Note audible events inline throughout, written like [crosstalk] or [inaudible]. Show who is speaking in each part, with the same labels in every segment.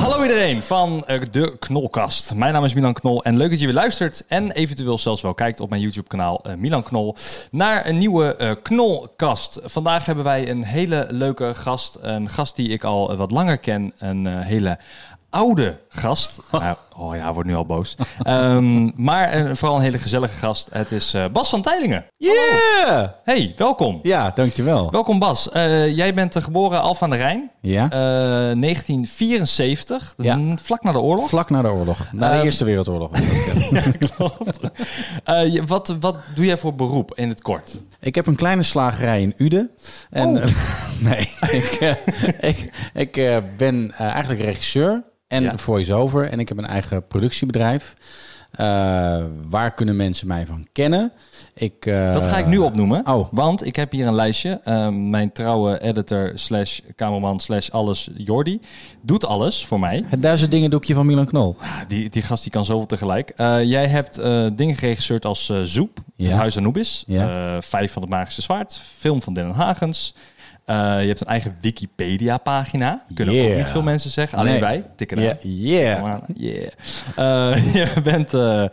Speaker 1: Hallo iedereen van eh, de Knolkast. Mijn naam is Milan Knol en leuk dat je weer luistert en eventueel zelfs wel kijkt op mijn YouTube kanaal Milan Knol naar een nieuwe eh, Knolkast. Vandaag hebben wij een hele leuke gast, een gast die ik al eh, wat langer ken, een eh, hele oude
Speaker 2: [laughs]
Speaker 1: gast. Nou, oh ja, hij wordt nu al boos. Ehm, maar eh, vooral een hele gezellige gast. Het is eh, Bas van Teylingen.
Speaker 2: Yeah!
Speaker 1: Hey, welkom.
Speaker 2: Ja, dankjewel.
Speaker 1: Welkom Bas. Eh, jij bent eh, geboren Alphen aan de Rijn.
Speaker 2: Ja.
Speaker 1: Eh, 1974,
Speaker 2: Ja.
Speaker 1: mm, vlak na de oorlog.
Speaker 2: Vlak na de oorlog. Na de
Speaker 1: Ehm,
Speaker 2: Eerste Wereldoorlog. was dat, ja.
Speaker 1: Eh, je- wat, wat doe jij voor beroep in het kort?
Speaker 2: [laughs] ik heb een kleine slagerij in Uden. En, [laughs] nee, ik, eh, ik, ik eh, ben eh, eigenlijk regisseur en
Speaker 1: Ja.
Speaker 2: voice-over. En ik heb een eigen productiebedrijf. Eh, waar kunnen mensen mij van kennen? Ik, eh,
Speaker 1: Dat ga ik nu opnoemen.
Speaker 2: oh.
Speaker 1: Want ik heb hier een lijstje. Eh, mijn trouwe editor slash cameraman slash alles, Jordi, doet alles voor mij.
Speaker 2: Het duizend dingen doekje van Milan Knol.
Speaker 1: Die, die gast die kan zoveel tegelijk. Eh, jij hebt eh, dingen geregisseerd als eh, Zoep,
Speaker 2: Ja.
Speaker 1: Huis Anubis,
Speaker 2: Ja.
Speaker 1: eh, Vijf van het Magische Zwaard, film van Dylan Hagens. Eh, je hebt een eigen Wikipedia-pagina. Kunnen ook
Speaker 2: Yeah.
Speaker 1: niet veel mensen zeggen. Alleen
Speaker 2: Nee.
Speaker 1: wij tikken
Speaker 2: Ja,
Speaker 1: aan. Kom aan. Yeah. Eh, [laughs] je bent eh, eh,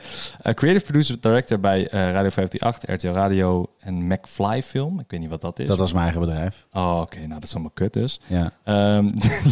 Speaker 1: creative producer director bij eh, Radio 538, RTL Radio en McFly Film. Ik weet niet wat dat is.
Speaker 2: Dat was mijn eigen bedrijf.
Speaker 1: Oh, oké. Nou, dat is allemaal kut dus.
Speaker 2: Ja.
Speaker 1: Ehm,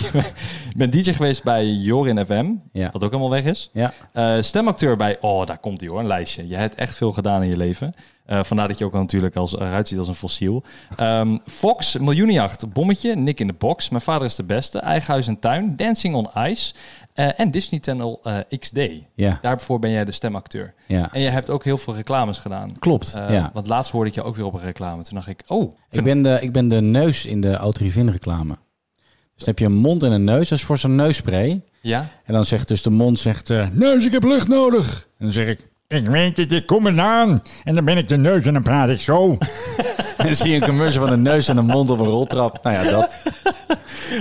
Speaker 1: [laughs] ik ben DJ geweest bij Jorin FM,
Speaker 2: Ja.
Speaker 1: wat ook helemaal weg is.
Speaker 2: Ja.
Speaker 1: Eh, stemacteur bij... Oh, daar komt hij hoor, een lijstje. Je hebt echt veel gedaan in je leven. Eh, vandaar dat je ook al natuurlijk als, eruit ziet als een fossiel. Ehm, Fox, Miljoenenjacht, Bommetje, Nick in de Box, Mijn Vader is de Beste, Eigen Huis en Tuin, Dancing on Ice eh, en Disney Channel eh, XD.
Speaker 2: Ja.
Speaker 1: Daarvoor ben jij de stemacteur.
Speaker 2: Ja.
Speaker 1: En je hebt ook heel veel reclames gedaan.
Speaker 2: Klopt,
Speaker 1: Eh,
Speaker 2: ja.
Speaker 1: Want laatst hoorde ik je ook weer op een reclame. Toen dacht ik, oh,
Speaker 2: Ik ben, de, ik ben de neus in de Autorivin reclame. Dus dan heb je een mond en een neus. Dat is voor zo'n neusspray.
Speaker 1: ja,
Speaker 2: En dan zegt dus de mond zegt... eh, neus, ik heb lucht nodig. En dan zeg ik...
Speaker 3: Ik weet het, ik kom eraan. En dan ben ik de neus en dan praat ik zo.
Speaker 2: En [laughs] dan zie je een commercial van een neus en een mond op een roltrap. Nou ja, dat.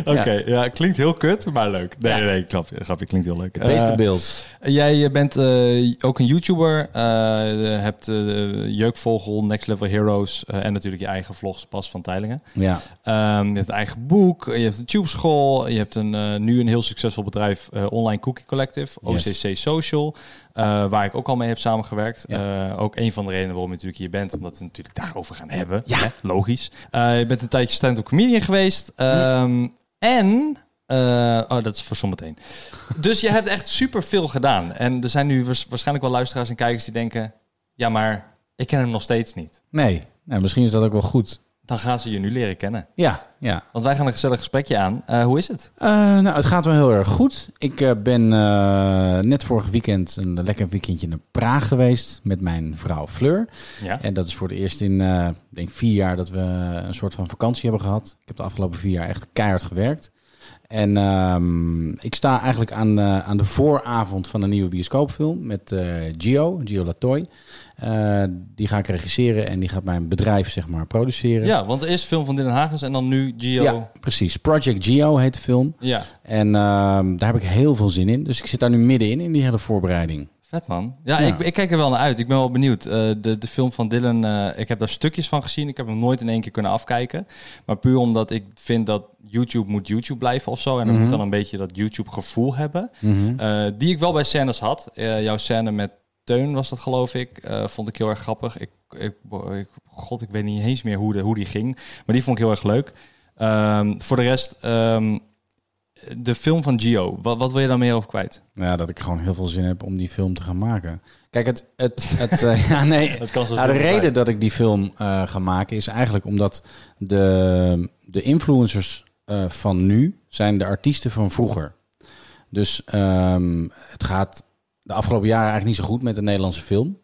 Speaker 1: Oké, ja. klinkt heel kut, maar leuk. Nee, nee, nee, klap, grapje, klinkt heel leuk.
Speaker 2: Beestenbeeld.
Speaker 1: Eh, jij bent eh, ook een YouTuber, eh, hebt eh, Jeukvogel, Next Level Heroes eh, en natuurlijk je eigen vlogs, Bas van Teilingen.
Speaker 2: ja.
Speaker 1: Ehm, je hebt een eigen boek, je hebt een Tube School, je hebt een, eh, nu een heel succesvol bedrijf, eh, Online Cookie Collective, OCC Social, eh, waar ik ook al mee heb samengewerkt. Eh, ook een van de redenen waarom je natuurlijk hier bent, omdat we het natuurlijk daarover gaan hebben.
Speaker 2: Ja.
Speaker 1: Hè? Logisch. Eh, je bent een tijdje stand-up comedian geweest. Ehm, En... eh, oh, dat is voor zometeen. Dus je hebt echt super veel gedaan. En er zijn nu waars- waarschijnlijk wel luisteraars en kijkers die denken: ja, maar ik ken hem nog steeds niet.
Speaker 2: Nee. Nou, misschien is dat ook wel goed.
Speaker 1: Dan gaan ze je nu leren kennen.
Speaker 2: Ja, ja.
Speaker 1: Want wij gaan een gezellig gesprekje aan. Eh, hoe is het?
Speaker 2: Eh, nou, het gaat wel heel erg goed. Ik eh, ben eh, net vorig weekend een lekker weekendje naar Praag geweest met mijn vrouw Fleur.
Speaker 1: Ja.
Speaker 2: En dat is voor het eerst in, eh, ik denk vier jaar dat we een soort van vakantie hebben gehad. Ik heb de afgelopen vier jaar echt keihard gewerkt. En ehm, ik sta eigenlijk aan, eh, aan de vooravond van een nieuwe bioscoopfilm met eh, Gio, Gio Latoy. Eh, die ga ik regisseren en die gaat mijn bedrijf zeg maar produceren.
Speaker 1: Ja, want eerst film van Dylan Hagens en dan nu Gio.
Speaker 2: Ja, precies. Project Gio heet de film.
Speaker 1: Ja.
Speaker 2: En ehm, daar heb ik heel veel zin in. Dus ik zit daar nu middenin in die hele voorbereiding.
Speaker 1: Vet man. Ja,
Speaker 2: Ja.
Speaker 1: Ik, ik kijk er wel naar uit. Ik ben wel benieuwd. Eh, de, de film van Dylan, eh, ik heb daar stukjes van gezien. Ik heb hem nooit in één keer kunnen afkijken. Maar puur omdat ik vind dat YouTube moet YouTube blijven of zo. En dan
Speaker 2: Mhm.
Speaker 1: moet dan een beetje dat YouTube gevoel hebben. Eh, die ik wel bij scènes had. Eh, jouw scène met Teun was dat geloof ik. Eh, vond ik heel erg grappig. Ik, ik, ik- God, ik weet niet eens meer hoe, de, hoe die ging. Maar die vond ik heel erg leuk. Ehm, voor de rest, ehm, de film van Gio. Wat, wat wil je daar meer over kwijt?
Speaker 2: Ja, dat ik gewoon heel veel zin heb om die film te gaan maken. Kijk, het. het, het eh, [laughs] ja, nee.
Speaker 1: Dat kan zo
Speaker 2: Nou, de
Speaker 1: zomaar
Speaker 2: reden
Speaker 1: zijn.
Speaker 2: dat ik die film eh, ga maken is eigenlijk omdat de, de influencers eh, van nu zijn de artiesten van vroeger. Dus ehm, het gaat de afgelopen jaren eigenlijk niet zo goed met de Nederlandse film.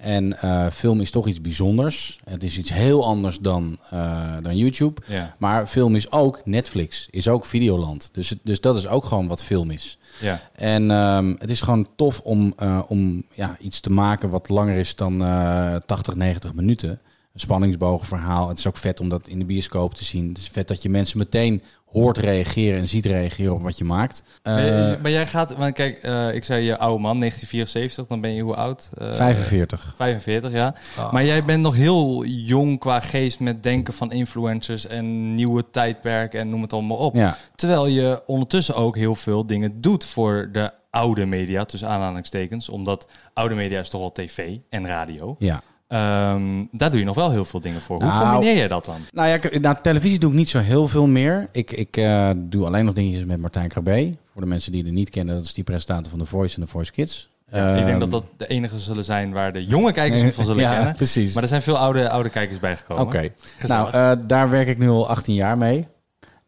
Speaker 2: En eh, film is toch iets bijzonders. Het is iets heel anders dan, eh, dan YouTube.
Speaker 1: Ja.
Speaker 2: Maar film is ook Netflix, is ook Videoland. Dus, het- dus dat is ook gewoon wat film is.
Speaker 1: Ja.
Speaker 2: En ehm, het is gewoon tof om, eh, om ja, iets te maken wat langer is dan eh 80, 90 minuten. spanningsboogverhaal. Het is ook vet om dat in de bioscoop te zien. Het is vet dat je mensen meteen hoort reageren en ziet reageren op wat je maakt. Eh,
Speaker 1: maar jij gaat, want kijk, eh, ik zei je oude man, 1974, dan ben je hoe oud? Eh,
Speaker 2: 45.
Speaker 1: 45, ja. Maar jij bent nog heel jong qua geest met denken van influencers en nieuwe tijdperk en noem het allemaal op.
Speaker 2: Ja.
Speaker 1: Terwijl je ondertussen ook heel veel dingen doet voor de oude media, tussen aanhalingstekens. Omdat oude media is toch al tv en radio.
Speaker 2: Ja.
Speaker 1: Ehm, daar doe je nog wel heel veel dingen voor. Hoe
Speaker 2: Nou,
Speaker 1: combineer je dat dan?
Speaker 2: Nou ja, ik- nou, televisie doe ik niet zo heel veel meer. Ik, ik eh, doe alleen nog dingetjes met Martijn Krabbe. Voor de mensen die het niet kennen, dat is die presentator van The Voice en The Voice Kids.
Speaker 1: ik denk
Speaker 2: Ehm,
Speaker 1: dat dat de enige zullen zijn waar de jonge kijkers van zullen
Speaker 2: [laughs] Ja,
Speaker 1: kennen.
Speaker 2: precies.
Speaker 1: Maar er zijn veel oude, oude kijkers bijgekomen.
Speaker 2: Oké. Nou, eh, daar werk ik nu al 18 jaar mee.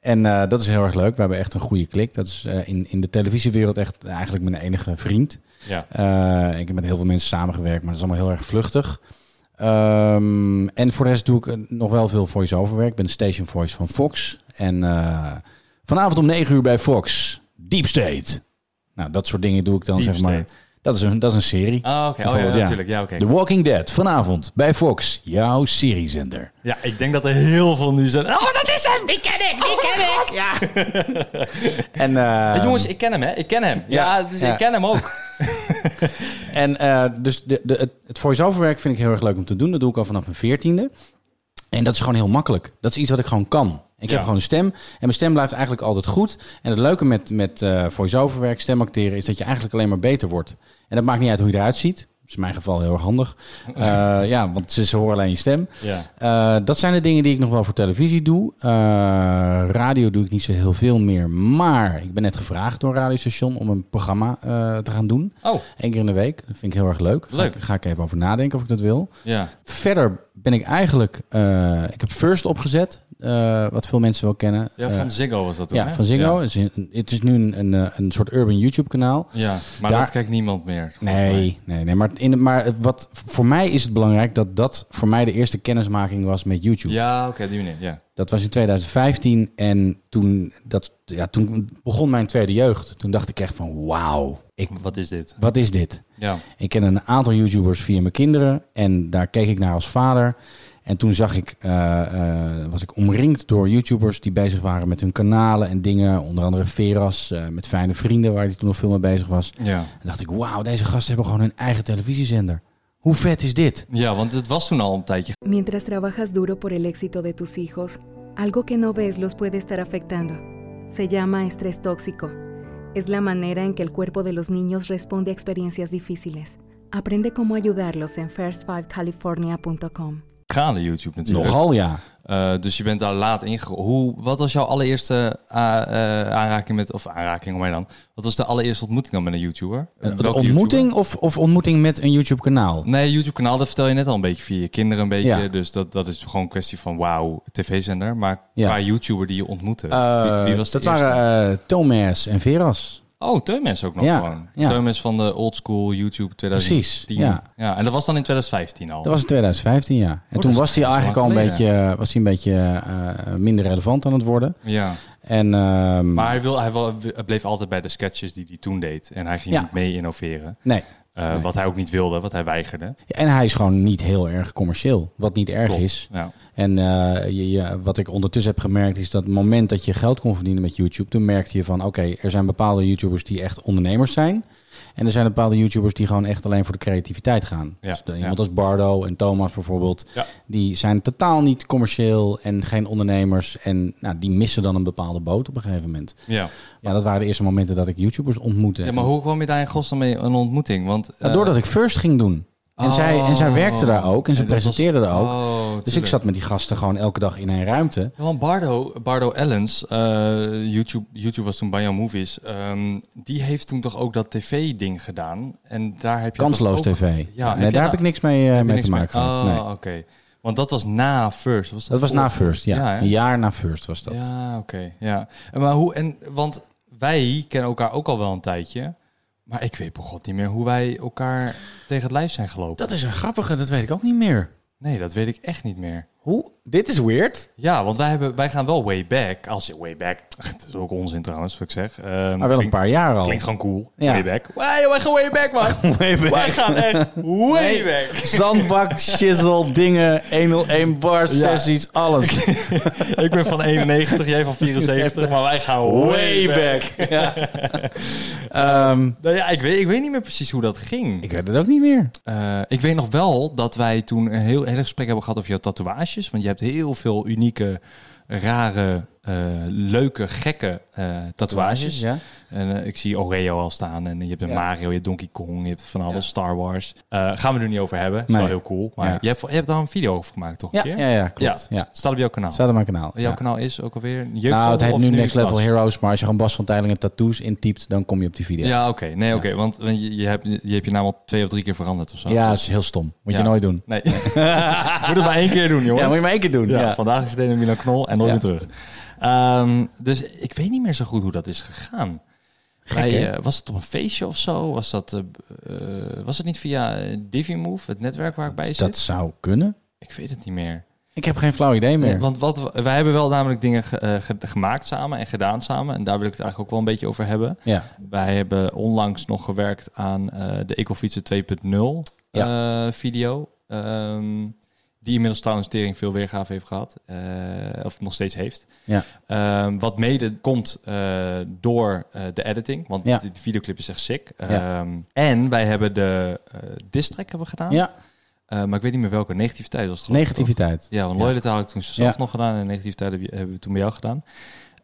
Speaker 2: En eh, dat is heel erg leuk. We hebben echt een goede klik. Dat is eh, in, in de televisiewereld echt eigenlijk mijn enige vriend.
Speaker 1: Ja.
Speaker 2: Eh, ik heb met heel veel mensen samengewerkt, maar dat is allemaal heel erg vluchtig. Ehm, en voor de rest doe ik eh, nog wel veel voice-over werk. Ik ben de station voice van Fox. En eh, vanavond om 9 uur bij Fox. Deep State. Nou, dat soort dingen doe ik dan,
Speaker 1: Deep
Speaker 2: zeg maar.
Speaker 1: State.
Speaker 2: Dat is een, dat is een serie.
Speaker 1: Ah, oké. Oh, ja,
Speaker 2: Bijvoorbeeld,
Speaker 1: natuurlijk. Ja, oké.
Speaker 2: The Walking Dead, vanavond bij Fox. Jouw seriezender.
Speaker 1: Ja, ik denk dat er heel veel nu zijn. Oh, dat is hem! Ik ken hem! Ik ken hem! Ja.
Speaker 2: En, eh,
Speaker 1: jongens, ik ken hem, hè? Ik ken hem. Ja,
Speaker 2: Ja,
Speaker 1: dus
Speaker 2: ja.
Speaker 1: ik ken hem ook.
Speaker 2: [laughs] En eh, dus de, de, het, het voice-over werk vind ik heel erg leuk om te doen. Dat doe ik al vanaf mijn veertiende. En dat is gewoon heel makkelijk. Dat is iets wat ik gewoon kan. Ik
Speaker 1: Ja.
Speaker 2: heb gewoon een stem. En mijn stem blijft eigenlijk altijd goed. En het leuke met, met eh voice-over werk, stemacteren, is dat je eigenlijk alleen maar beter wordt. En dat maakt niet uit hoe je eruit ziet. Dat is in mijn geval heel erg
Speaker 1: [laughs]
Speaker 2: handig. Eh, ja, want ze, ze horen alleen je stem.
Speaker 1: Ja.
Speaker 2: Eh, dat zijn de dingen die ik nog wel voor televisie doe. Eh, radio doe ik niet zo heel veel meer. Maar ik ben net gevraagd door een radiostation om een programma eh, te gaan doen.
Speaker 1: Oh,
Speaker 2: Eén keer in de week. Dat vind ik heel erg leuk. Ga
Speaker 1: Leuk.
Speaker 2: ik- ga ik even over nadenken of ik dat wil.
Speaker 1: ja.
Speaker 2: Verder ben ik eigenlijk... eh, ik heb First opgezet. eh, wat veel mensen wel kennen.
Speaker 1: ja
Speaker 2: Eh,
Speaker 1: van Ziggo was dat toen,
Speaker 2: ja,
Speaker 1: hè?
Speaker 2: van Ziggo. Het, is een- het is nu een, een, eh, een soort urban YouTube kanaal.
Speaker 1: Ja, Ja, maar
Speaker 2: Daar-
Speaker 1: dat kijkt niemand meer. volgens mij.
Speaker 2: Nee, nee, nee. Maar, in, maar wat, voor mij is het belangrijk dat dat voor mij de eerste kennismaking was met YouTube.
Speaker 1: Ja, oké, die meneer. Ja.
Speaker 2: Dat was in 2015 en toen, dat, ja, toen begon mijn tweede jeugd. Toen dacht ik echt van wauw, ik,
Speaker 1: Wat is dit?
Speaker 2: wat is dit?
Speaker 1: Ja.
Speaker 2: Ik ken een aantal YouTubers via mijn kinderen en daar keek ik naar als vader. En toen zag ik, eh, eh, was ik omringd door YouTubers die bezig waren met hun kanalen en dingen. Onder andere Veras, eh, met fijne vrienden, waar hij toen nog veel mee bezig was.
Speaker 1: Ja.
Speaker 2: En dacht ik, wauw, deze gasten hebben gewoon hun eigen televisiezender. Hoe vet is dit?
Speaker 1: ja, want het was toen al een tijdje
Speaker 4: Mientras trabajas duro por el éxito de tus hijos, algo que no ves los puede estar afectando. Se llama estrés tóxico. Es la manera en que el cuerpo de los niños responde a experiencias difíciles. Aprende cómo ayudarlos en first5california.com.
Speaker 1: gaande, YouTube natuurlijk.
Speaker 2: Nogal ja.
Speaker 1: Eh, dus je bent daar laat in. Hoe, wat was jouw allereerste a- eh, aanraking met, of aanraking om mij dan? Wat was de allereerste ontmoeting dan met een YouTuber?
Speaker 2: Een
Speaker 1: Welke
Speaker 2: Eh, ontmoeting of, of ontmoeting met een YouTube kanaal?
Speaker 1: YouTuber? Nee, YouTube-kanaal, dat vertel je net al een beetje via je kinderen een beetje.
Speaker 2: Ja.
Speaker 1: Dus dat, dat is gewoon een kwestie van wauw, tv-zender. Maar
Speaker 2: Ja.
Speaker 1: qua YouTuber die je ontmoette,
Speaker 2: Eh,
Speaker 1: wie, wie was de
Speaker 2: dat
Speaker 1: eerste?
Speaker 2: waren eh Thomas en Veras.
Speaker 1: Oh, Teumes ook nog
Speaker 2: Ja,
Speaker 1: gewoon.
Speaker 2: ja.
Speaker 1: Teumes van de old school YouTube 2010.
Speaker 2: Precies, ja.
Speaker 1: En dat was dan in 2015 al.
Speaker 2: Dat was in 2015, ja. En
Speaker 1: Oh, dat
Speaker 2: toen
Speaker 1: is-
Speaker 2: was hij
Speaker 1: dat is lang
Speaker 2: eigenlijk al een beetje,
Speaker 1: geleden.
Speaker 2: was hij een beetje eh, minder relevant aan het worden.
Speaker 1: Ja.
Speaker 2: En, ehm,
Speaker 1: Maar hij, wil, hij wil- hij bleef altijd bij de sketches die hij toen deed. En hij ging
Speaker 2: Ja.
Speaker 1: niet mee innoveren.
Speaker 2: nee.
Speaker 1: Eh, Wat hij ook niet wilde, wat hij weigerde.
Speaker 2: Ja, En hij is gewoon niet heel erg commercieel, wat niet erg
Speaker 1: Klopt.
Speaker 2: is.
Speaker 1: Ja.
Speaker 2: En eh, je, je- wat ik ondertussen heb gemerkt is dat het moment dat je geld kon verdienen met YouTube, toen merkte je van oké, er zijn bepaalde YouTubers die echt ondernemers zijn. En er zijn bepaalde YouTubers die gewoon echt alleen voor de creativiteit gaan.
Speaker 1: Ja,
Speaker 2: dus de-
Speaker 1: ja.
Speaker 2: iemand als Bardo en Thomas bijvoorbeeld,
Speaker 1: Ja.
Speaker 2: die zijn totaal niet commercieel en geen ondernemers. En nou, die missen dan een bepaalde boot op een gegeven moment.
Speaker 1: Ja.
Speaker 2: Ja, dat waren de eerste momenten dat ik YouTubers ontmoette.
Speaker 1: ja, maar hoe kwam je daar in godsnaam mee een ontmoeting? Want,
Speaker 2: Nou,
Speaker 1: eh,
Speaker 2: doordat ik First ging doen. En,
Speaker 1: Oh.
Speaker 2: zij, en zij werkte daar ook en ze
Speaker 1: En dat
Speaker 2: presenteerde
Speaker 1: was-
Speaker 2: daar ook.
Speaker 1: Oh,
Speaker 2: dus ik
Speaker 1: tuurlijk.
Speaker 2: zat met die gasten gewoon elke dag in een ruimte.
Speaker 1: Ja, Want Bardo, Bardo Ellens, eh, YouTube, YouTube was toen Banja Movies, ehm, die heeft toen toch ook dat tv-ding gedaan. En daar heb je
Speaker 2: Kansloos
Speaker 1: toch ook-
Speaker 2: tv. Ja,
Speaker 1: heb
Speaker 2: nee,
Speaker 1: je
Speaker 2: daar heb ik niks mee, eh, mee
Speaker 1: niks
Speaker 2: te maken gehad.
Speaker 1: Oh,
Speaker 2: nee.
Speaker 1: oké. Want dat was na First. Was
Speaker 2: Dat was
Speaker 1: voor-
Speaker 2: na First, ja.
Speaker 1: Ja, hè?
Speaker 2: Een jaar na First was dat.
Speaker 1: ja oké. Ja. En Maar hoe, en, want wij kennen elkaar ook al wel een tijdje. Maar ik weet bij god niet meer hoe wij elkaar tegen het lijf zijn gelopen.
Speaker 2: Dat is een grappige, dat weet ik ook niet meer.
Speaker 1: Nee, dat weet ik echt niet meer.
Speaker 2: Hoe? Dit is weird.
Speaker 1: Ja, want wij, hebben, wij gaan wel way back. Als way back, [laughs] het is ook onzin trouwens, wat ik zeg. Ehm,
Speaker 2: Maar wel een
Speaker 1: klinkt-
Speaker 2: paar jaar al.
Speaker 1: Klinkt gewoon cool.
Speaker 2: Ja.
Speaker 1: Way back. Wij, wij gaan [laughs] way back, man.
Speaker 2: Way back.
Speaker 1: Wij gaan echt way back.
Speaker 2: Zandbak, shizzle, dingen, 101 bars, sessies, alles.
Speaker 1: [laughs] [laughs] Ik ben van 91, [laughs] jij van 74, maar wij gaan way, back. [laughs]
Speaker 2: Ja. Ehm,
Speaker 1: Nou ja, ik weet, ik weet niet meer precies hoe dat ging.
Speaker 2: ik weet het ook niet meer.
Speaker 1: Eh, ik weet nog wel dat wij toen een heel, heel gesprek hebben gehad over jouw tatoeages. Want je hebt heel veel unieke, rare, eh, leuke, gekke eh, tatoeages.
Speaker 2: ja.
Speaker 1: En eh, ik zie Oreo al staan. En je hebt een
Speaker 2: Ja.
Speaker 1: Mario, je hebt Donkey Kong, je hebt van alles, Star Wars. Eh, gaan we er niet over hebben. Is
Speaker 2: Nee.
Speaker 1: wel heel cool. Maar
Speaker 2: Ja.
Speaker 1: je, hebt, je hebt daar een video over gemaakt, toch? een
Speaker 2: Ja,
Speaker 1: keer?
Speaker 2: ja, ja, klopt.
Speaker 1: Ja,
Speaker 2: Ja.
Speaker 1: st- staat op jouw kanaal. Oh,
Speaker 2: Staat op mijn kanaal.
Speaker 1: Jouw kanaal is ook alweer... Jeugdvogel
Speaker 2: Nou, het heet
Speaker 1: of
Speaker 2: nu Next Level
Speaker 1: Klas?
Speaker 2: Heroes, maar als je gewoon Bas van Tijlingen tattoos intypt, dan kom je op die video.
Speaker 1: Ja, oké. Nee, oké. want want je, je hebt je, hebt je naam al twee of drie keer veranderd of zo.
Speaker 2: Ja, dat is heel stom. Moet
Speaker 1: Ja.
Speaker 2: je nooit doen.
Speaker 1: Nee. [laughs] moet het maar één keer doen, jongens.
Speaker 2: Ja, moet je maar één keer doen.
Speaker 1: Ja,
Speaker 2: Ja.
Speaker 1: vandaag is het een Milan Knol en nooit
Speaker 2: Ja.
Speaker 1: weer terug. Ehm, dus ik weet niet meer zo goed hoe dat is gegaan. Wij,
Speaker 2: hè?
Speaker 1: eh, was het op een feestje of zo? Was, dat, eh, eh, was het niet via eh, DiviMove, het netwerk waar ik bij zit?
Speaker 2: Dat zou kunnen.
Speaker 1: Ik weet het niet meer.
Speaker 2: Ik heb geen flauw idee meer.
Speaker 1: Want wat, we- wij hebben wel namelijk dingen ge- eh, ge- gemaakt samen en gedaan samen. En daar wil ik het eigenlijk ook wel een beetje over hebben.
Speaker 2: ja.
Speaker 1: Wij hebben onlangs nog gewerkt aan eh, de Ecofietsen 2.0 eh, video. ehm, die inmiddels trouwens tering veel weergave heeft gehad. eh, of nog steeds heeft.
Speaker 2: Ja.
Speaker 1: Ehm, wat mede komt eh, door eh, de editing. Want
Speaker 2: Ja.
Speaker 1: de videoclip is echt sick.
Speaker 2: Ja.
Speaker 1: Ehm, En wij hebben de eh distrack hebben we gedaan.
Speaker 2: ja,
Speaker 1: Eh, maar ik weet niet meer welke. Negativiteit was het geloof ik, toch?
Speaker 2: negativiteit.
Speaker 1: Ja, want
Speaker 2: Ja.
Speaker 1: Loyalty had ik toen zelf
Speaker 2: Ja.
Speaker 1: nog gedaan en negativiteit heb je- hebben we toen bij jou gedaan.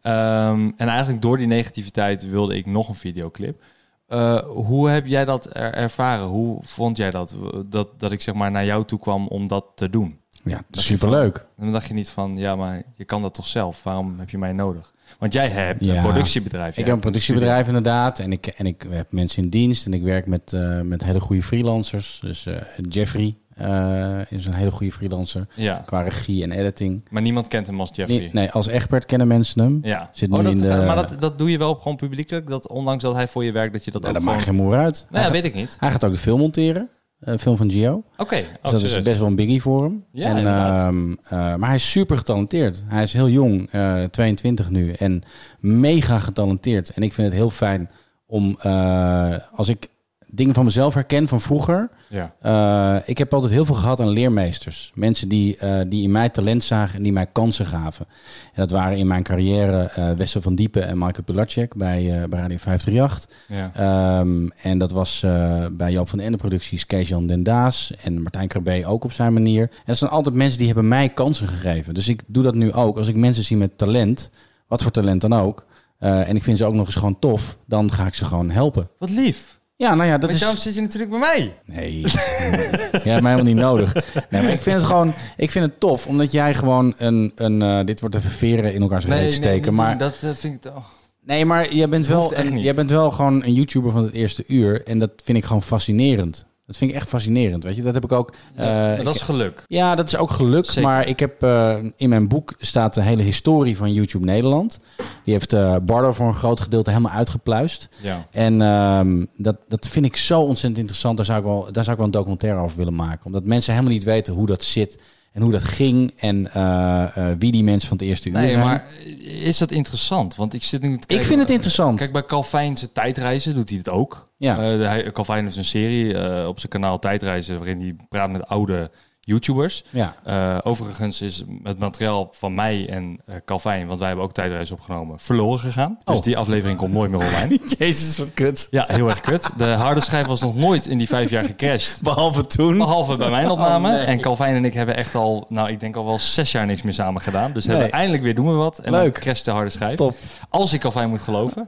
Speaker 1: Ehm, en eigenlijk door die negativiteit wilde ik nog een videoclip. Eh, hoe heb jij dat er- ervaren? Hoe vond jij dat? dat? Dat ik zeg maar naar jou toe kwam om dat te doen.
Speaker 2: Ja, superleuk.
Speaker 1: En dan dacht je niet van, ja, maar je kan dat toch zelf? Waarom heb je mij nodig? Want jij hebt
Speaker 2: Ja.
Speaker 1: een productiebedrijf. jij
Speaker 2: Ik heb een
Speaker 1: hebt
Speaker 2: productiebedrijf inderdaad. En ik, en ik heb mensen in dienst. En ik werk met, eh, met hele goede freelancers. Dus eh, Jeffrey eh, is een hele goede freelancer.
Speaker 1: studio. Ja,
Speaker 2: Qua regie en editing.
Speaker 1: maar niemand kent hem als Jeffrey.
Speaker 2: Nee, nee, als expert kennen mensen hem.
Speaker 1: Ja.
Speaker 2: Zit
Speaker 1: Oh,
Speaker 2: nu
Speaker 1: dat,
Speaker 2: in de-
Speaker 1: Maar dat, dat doe je wel gewoon publiekelijk. Dat ondanks dat hij voor je werkt, dat je dat
Speaker 2: Nou,
Speaker 1: ook
Speaker 2: dat
Speaker 1: gewoon...
Speaker 2: maakt geen moer uit.
Speaker 1: Nou ja, weet ik niet.
Speaker 2: Hij gaat ook de film monteren. Een film van Gio.
Speaker 1: Oké.
Speaker 2: Dus dat is
Speaker 1: Oh, serieus.
Speaker 2: best wel een biggie voor hem.
Speaker 1: Ja,
Speaker 2: en,
Speaker 1: inderdaad.
Speaker 2: ehm, eh, maar hij is super getalenteerd. Hij is heel jong, eh, 22 nu. En mega getalenteerd. En ik vind het heel fijn om... eh, als ik dingen van mezelf herken van vroeger...
Speaker 1: Ja.
Speaker 2: Eh, ik heb altijd heel veel gehad aan leermeesters. Mensen die, eh, die in mij talent zagen en die mij kansen gaven. En dat waren in mijn carrière eh Wessel van Diepen en Michael Pilacek bij, eh, bij Radio 538.
Speaker 1: Ja.
Speaker 2: Ehm, en dat was eh, bij Joop van den Ende producties Kees-Jan Den Daas en Martijn Krabbe ook op zijn manier. En dat zijn altijd mensen die hebben mij kansen gegeven. Dus ik doe dat nu ook. Als ik mensen zie met talent, wat voor talent dan ook, eh, en ik vind ze ook nog eens gewoon tof, dan ga ik ze gewoon helpen.
Speaker 1: Wat lief.
Speaker 2: Ja, nou ja, dat
Speaker 1: Maar
Speaker 2: is...
Speaker 1: daarom zit je natuurlijk bij mij.
Speaker 2: Nee, [laughs] jij hebt mij helemaal niet nodig. Nee, maar ik vind het gewoon, ik vind het tof, omdat jij gewoon een, een eh, dit wordt even veren in elkaar reet steken, maar
Speaker 1: dat eh, vind ik... oh.
Speaker 2: nee, maar jij bent
Speaker 1: hoeft
Speaker 2: wel,
Speaker 1: echt
Speaker 2: een,
Speaker 1: niet.
Speaker 2: jij bent wel gewoon een YouTuber van het eerste uur, en dat vind ik gewoon fascinerend. Dat vind ik echt fascinerend, weet je. Dat heb ik ook. eh,
Speaker 1: Ja,
Speaker 2: ik-
Speaker 1: dat is geluk.
Speaker 2: ja, dat is ook geluk.
Speaker 1: Zeker.
Speaker 2: Maar ik heb eh, in mijn boek staat de hele historie van YouTube Nederland. Die heeft eh Bardo voor een groot gedeelte helemaal uitgepluist.
Speaker 1: Ja.
Speaker 2: En ehm, dat, dat vind ik zo ontzettend interessant. Daar zou, ik wel, daar zou ik wel een documentaire over willen maken. Omdat mensen helemaal niet weten hoe dat zit en hoe dat ging. En eh, eh, wie die mensen van het eerste uur
Speaker 1: Nee,
Speaker 2: zijn.
Speaker 1: maar is dat interessant? Want ik zit nu te kijken-
Speaker 2: vind het interessant.
Speaker 1: Kijk, bij Calvijnse tijdreizen doet hij het ook.
Speaker 2: Ja.
Speaker 1: Eh, de- hij- Calvijn heeft een serie eh, op zijn kanaal Tijdreizen... waarin hij praat met oude YouTubers.
Speaker 2: Ja.
Speaker 1: Eh, overigens is het materiaal van mij en eh, Calvijn... want wij hebben ook tijdreizen opgenomen, verloren gegaan. Dus
Speaker 2: Oh.
Speaker 1: die aflevering komt nooit meer online.
Speaker 2: [laughs] Jezus, wat kut.
Speaker 1: ja, heel erg kut. De harde schijf was nog nooit in die vijf jaar gecrashed.
Speaker 2: Behalve toen.
Speaker 1: Behalve bij mijn opname.
Speaker 2: Oh, nee.
Speaker 1: En Calvin en ik hebben echt al, nou, ik denk al wel zes jaar niks meer samen gedaan. Dus hebben
Speaker 2: Nee.
Speaker 1: we eindelijk weer doen we wat. En dan
Speaker 2: Leuk.
Speaker 1: crasht de harde schijf.
Speaker 2: Top.
Speaker 1: Als ik Calvin moet
Speaker 2: [laughs]
Speaker 1: geloven.